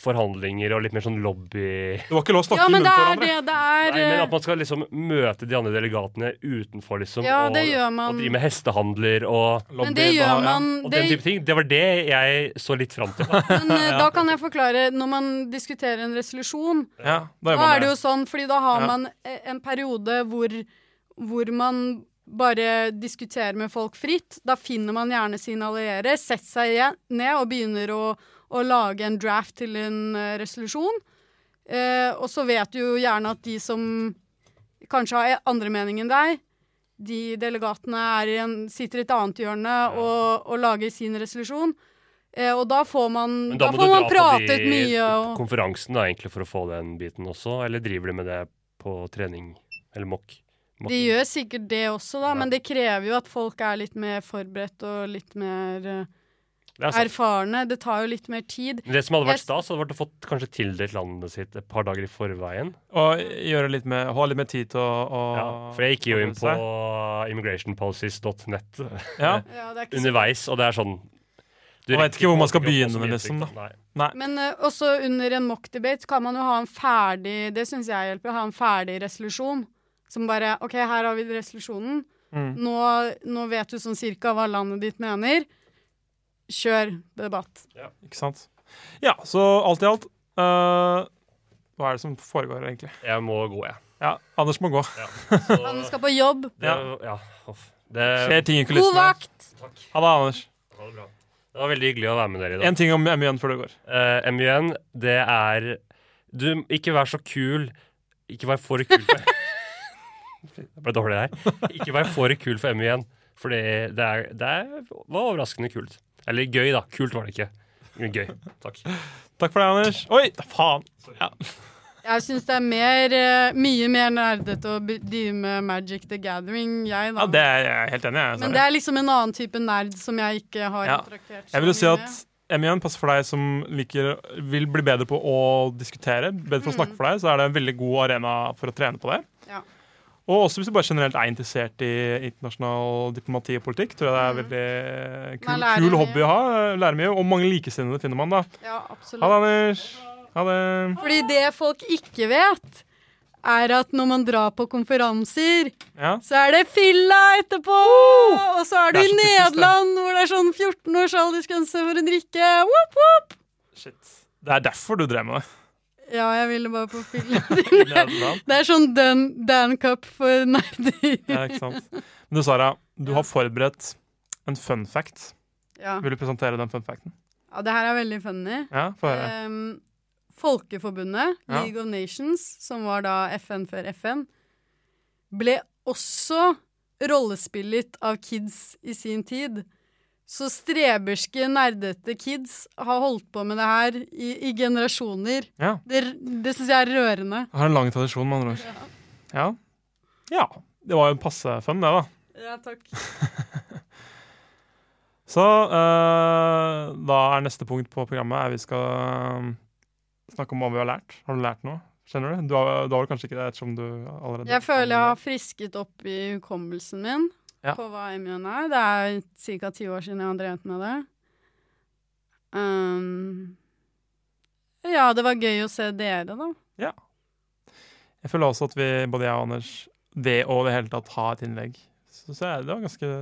Speaker 6: forhandlinger og litt mer sånn lobby...
Speaker 3: Det var ikke lov å snakke
Speaker 5: Ja,
Speaker 3: i
Speaker 5: men
Speaker 3: munnen
Speaker 5: det
Speaker 3: på
Speaker 5: er
Speaker 3: hverandre.
Speaker 5: det det er.
Speaker 6: Nei, men at
Speaker 5: eh,
Speaker 6: man skal liksom møte de andre delegatene utenfor, liksom.
Speaker 5: Ja,
Speaker 6: og,
Speaker 5: det gjør man.
Speaker 6: og drive med hestehandler og,
Speaker 5: eh, Men det gjør man
Speaker 6: og
Speaker 5: det,
Speaker 6: den type ting. Det var det jeg så litt fram til.
Speaker 5: Men eh, da kan jeg forklare. Når man diskuterer en resolusjon,
Speaker 3: Ja, da gjør
Speaker 5: Da
Speaker 3: man
Speaker 5: er det
Speaker 3: det.
Speaker 5: jo sånn, fordi da har
Speaker 3: Ja.
Speaker 5: man eh, en periode hvor, hvor man bare diskuterer med folk fritt. Da finner man gjerne sine alliere, setter seg igjen- ned og begynner å, å lage en draft til en eh, resolusjon. Eh, og så vet du jo gjerne at de som kanskje har e, andre mening enn deg, de delegatene er i en, sitter i et annet hjørne og, og lager sin resolusjon. Eh, og da får man,
Speaker 6: Men
Speaker 5: da
Speaker 6: da må du
Speaker 5: får man
Speaker 6: dra på
Speaker 5: pratet
Speaker 6: de
Speaker 5: mye. Og...
Speaker 6: konferansen da, egentlig for å få den biten også, eller driver de med det på trening eller mock?
Speaker 5: De gjør sikkert det også, da, men det krever jo at folk er litt mer forberedt og litt mer eh,
Speaker 3: Altså-
Speaker 6: Det er sant.
Speaker 5: erfarne. Det tar jo litt mer tid.
Speaker 6: Men Det som hadde
Speaker 5: Jeg
Speaker 6: vært
Speaker 5: s-
Speaker 6: stas, hadde vært å fått kanskje tildelt landet sitt et par dager i forveien.
Speaker 3: Og gjøre litt med, ha litt mer tid til å, å
Speaker 6: Ja, for jeg gikk jo inn på
Speaker 3: forberede seg.
Speaker 6: immigrationpolicies.net
Speaker 3: Ja.
Speaker 5: Ja, det er ikke så-
Speaker 6: underveis, og det er sånn du
Speaker 3: Man vet
Speaker 6: rekker
Speaker 3: ikke hvor man
Speaker 6: å-
Speaker 3: skal
Speaker 6: å få så
Speaker 3: begynne med,
Speaker 6: mye
Speaker 3: liksom,
Speaker 6: inntrykk, da. Nei.
Speaker 5: Men eh, også under en mock-debate kan man jo ha en ferdig Det syns jeg hjelper, å ha en ferdig resolusjon. Som bare OK, her har vi resolusjonen.
Speaker 3: Mm.
Speaker 5: Nå, nå vet du sånn cirka hva landet ditt mener. Kjør debatt.
Speaker 3: Ikke sant? Ja, så alt i alt eh, Hva er det som foregår, egentlig?
Speaker 6: Jeg må gå, jeg.
Speaker 3: Ja, Anders må gå.
Speaker 5: Han skal på jobb.
Speaker 6: Det,
Speaker 3: Ja.
Speaker 6: ja. uff. det,
Speaker 5: Um,
Speaker 3: Skjer ting i
Speaker 5: God
Speaker 3: kulissene.
Speaker 5: vakt!
Speaker 3: Ha det, Anders.
Speaker 6: det var veldig hyggelig å være med dere i dag.
Speaker 3: En ting om MUN før du går.
Speaker 6: Eh, MUN, det er Du, ikke vær så kul. Ikke vær for kul for Det ble dårlig her. Ikke vær for kul for MUN, for det, det, er, det er, var overraskende kult. Eller gøy, da. Kult var det ikke. Men gøy. Takk.
Speaker 3: Takk for deg, Anders. Oi, faen! Ja.
Speaker 5: Jeg syns det er mer, eh, mye mer nerdete å be- drive med Magic the Gathering, jeg, da.
Speaker 3: Ja, det Altså, er jeg helt enig i.
Speaker 5: Men det
Speaker 3: Sverre.
Speaker 5: er liksom en annen type nerd som jeg ikke har
Speaker 3: Ja.
Speaker 5: interagert så
Speaker 3: Jeg vil jo si
Speaker 5: mye med.
Speaker 3: at MIN passer for deg som liker, vil bli bedre på å diskutere, bedre for å
Speaker 5: Mm.
Speaker 3: snakke for deg, så er det en veldig god arena for å trene på det.
Speaker 5: Ja.
Speaker 3: Og også hvis du bare generelt er interessert i internasjonal diplomati og politikk, tror jeg det er veldig
Speaker 5: Man
Speaker 3: kul,
Speaker 5: Mm. lærer
Speaker 3: kul
Speaker 5: mye.
Speaker 3: hobby å ha. Lærer mye, og mange likesinnede finner man, da. Ha
Speaker 5: Ja,
Speaker 3: det,
Speaker 5: absolutt.
Speaker 3: Anders. Ha det.
Speaker 5: Fordi det folk ikke vet, er at når man drar på konferanser,
Speaker 3: Ja. Oh!
Speaker 5: så er det filla etterpå! Og så er du
Speaker 3: Det er så
Speaker 5: i
Speaker 3: typisk, det.
Speaker 5: Nederland, hvor det er sånn 14 års aldersgrense for å drikke. Woop, woop.
Speaker 3: Shit. Det er derfor du drev med det.
Speaker 5: Ja, jeg ville bare på fylla dine.
Speaker 3: Nederland.
Speaker 5: Det er sånn Dan, Dan Cup for nerder.
Speaker 3: Ja, ikke sant. Men du, Sara, du har forberedt en fun fact.
Speaker 5: Ja.
Speaker 3: Vil du presentere den fun facten?
Speaker 5: ja, det her er veldig funny.
Speaker 3: Ja, få høre.
Speaker 5: Ehm, Folkeforbundet,
Speaker 3: Ja.
Speaker 5: League of Nations, som var da FN før FN, ble også rollespillet av kids i sin tid. Så streberske, nerdete kids har holdt på med det her i, i generasjoner.
Speaker 3: Ja.
Speaker 5: Det, det syns jeg er rørende.
Speaker 3: Har en lang tradisjon, med andre ord. Ja. ja. Det var jo en passe fun, det, da.
Speaker 5: Ja, takk.
Speaker 3: Så eh, da er neste punkt på programmet er vi skal eh, snakke om hva vi har lært. Har du lært noe? Kjenner du? Du har, du har vel kanskje ikke det ettersom du allerede
Speaker 5: Jeg føler jeg har frisket opp i hukommelsen min
Speaker 3: Ja.
Speaker 5: på hva MJN er. Det er ca. ti år siden jeg har drevet med det. Um, ja, det var gøy å se dere, da.
Speaker 3: Jeg føler også at vi, både jeg og Anders, ved å i det hele tatt ha et innlegg, så, så er det var ganske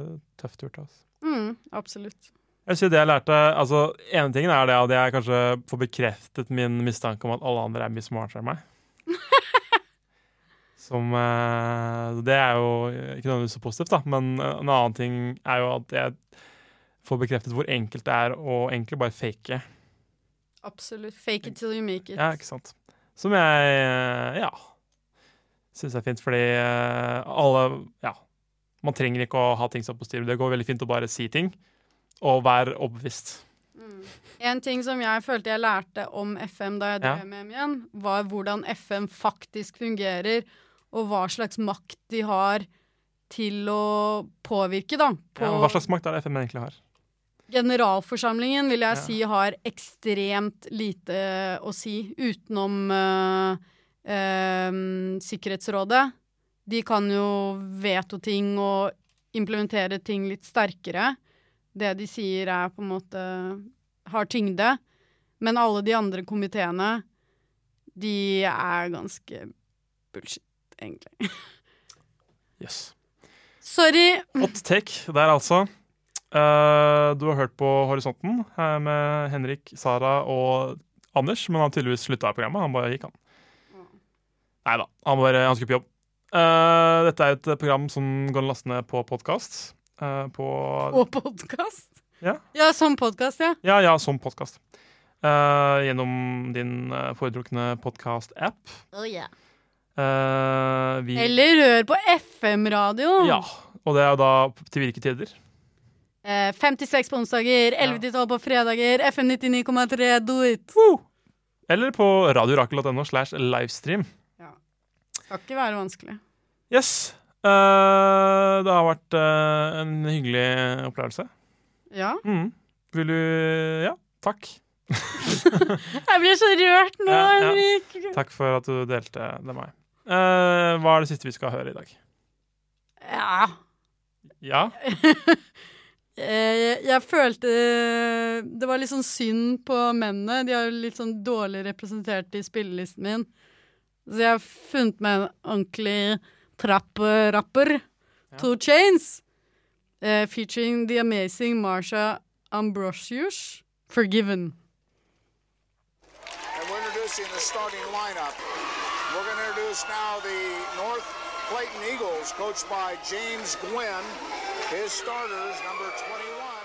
Speaker 3: tøft gjort. Altså.
Speaker 5: Mm, absolutt.
Speaker 3: Jeg vil si det jeg lærte, altså, ene tingen er det at jeg kanskje får bekreftet min mistanke om at alle andre er mye smartere enn meg. Som eh, Det er jo ikke nødvendigvis så positivt, da, men eh, en annen ting er jo at jeg får bekreftet hvor enkelt det er å egentlig bare fake.
Speaker 5: Absolutt. Fake it till you make it.
Speaker 3: Ja, ikke sant. Som jeg, eh, ja, syns er fint, fordi eh, alle Ja. Man trenger ikke å ha ting så positive. Det går veldig fint å bare si ting, og være overbevist.
Speaker 5: En ting som jeg følte jeg lærte om FM da jeg drev
Speaker 3: Ja.
Speaker 5: med MJN, var hvordan FM faktisk fungerer, og hva slags makt de har til å påvirke, da. På
Speaker 3: Ja, men hva slags makt er det FM egentlig har?
Speaker 5: Generalforsamlingen vil jeg
Speaker 3: Ja.
Speaker 5: si har ekstremt lite å si utenom eh, eh, Sikkerhetsrådet. De kan jo veto ting og implementere ting litt sterkere. Det de sier er på en måte har tyngde. Men alle de andre komiteene, de er ganske bullshit, egentlig.
Speaker 3: Yes.
Speaker 5: Sorry!
Speaker 3: Hot take der, altså. Eh, du har hørt på Horisonten her med Henrik, Sara og Anders, men han har tydeligvis slutta i programmet. Han bare gikk, han. Nei da, han, bare- han skulle på jobb. Eh, dette er et program som går laste ned på podkast. på
Speaker 5: Og podkast.
Speaker 3: Ja.
Speaker 5: ja, som podkast, ja.
Speaker 3: ja, ja, som podkast. gjennom din eh, foretrukne podkast-app.
Speaker 7: Oh, yeah.
Speaker 3: Eh, vi
Speaker 5: Eller hør på FM-radioen.
Speaker 3: Ja. Og det er da til hvilke tider?
Speaker 5: Eh, 56 på onsdager, 11 til 12 på fredager, FM 99,3, do it!
Speaker 3: Eller på radiorakel.no slash livestream.
Speaker 5: Skal ikke være vanskelig.
Speaker 3: Yes. Eh, det har vært eh, en hyggelig opplevelse.
Speaker 5: Ja.
Speaker 3: Mm. Vil du Ja, takk.
Speaker 5: Jeg blir så rørt nå,
Speaker 3: Ja, ja.
Speaker 5: Henrik!
Speaker 3: Takk for at du delte det med meg. Eh, hva er det siste vi skal høre i dag?
Speaker 5: Ja.
Speaker 3: Ja?
Speaker 5: Eh, jeg følte Det var litt sånn synd på mennene. De er jo litt sånn dårlig representert i spillelisten min. Så jeg har funnet meg en ordentlig trapp-rapper. Two Chains. eh, featuring The Amazing Marsha Ambrosius. Forgiven.
Speaker 11: And we're introducing the starting lineup. We're going to introduce now the North Clayton Eagles, coached by James Gwynn. His starters, number 21.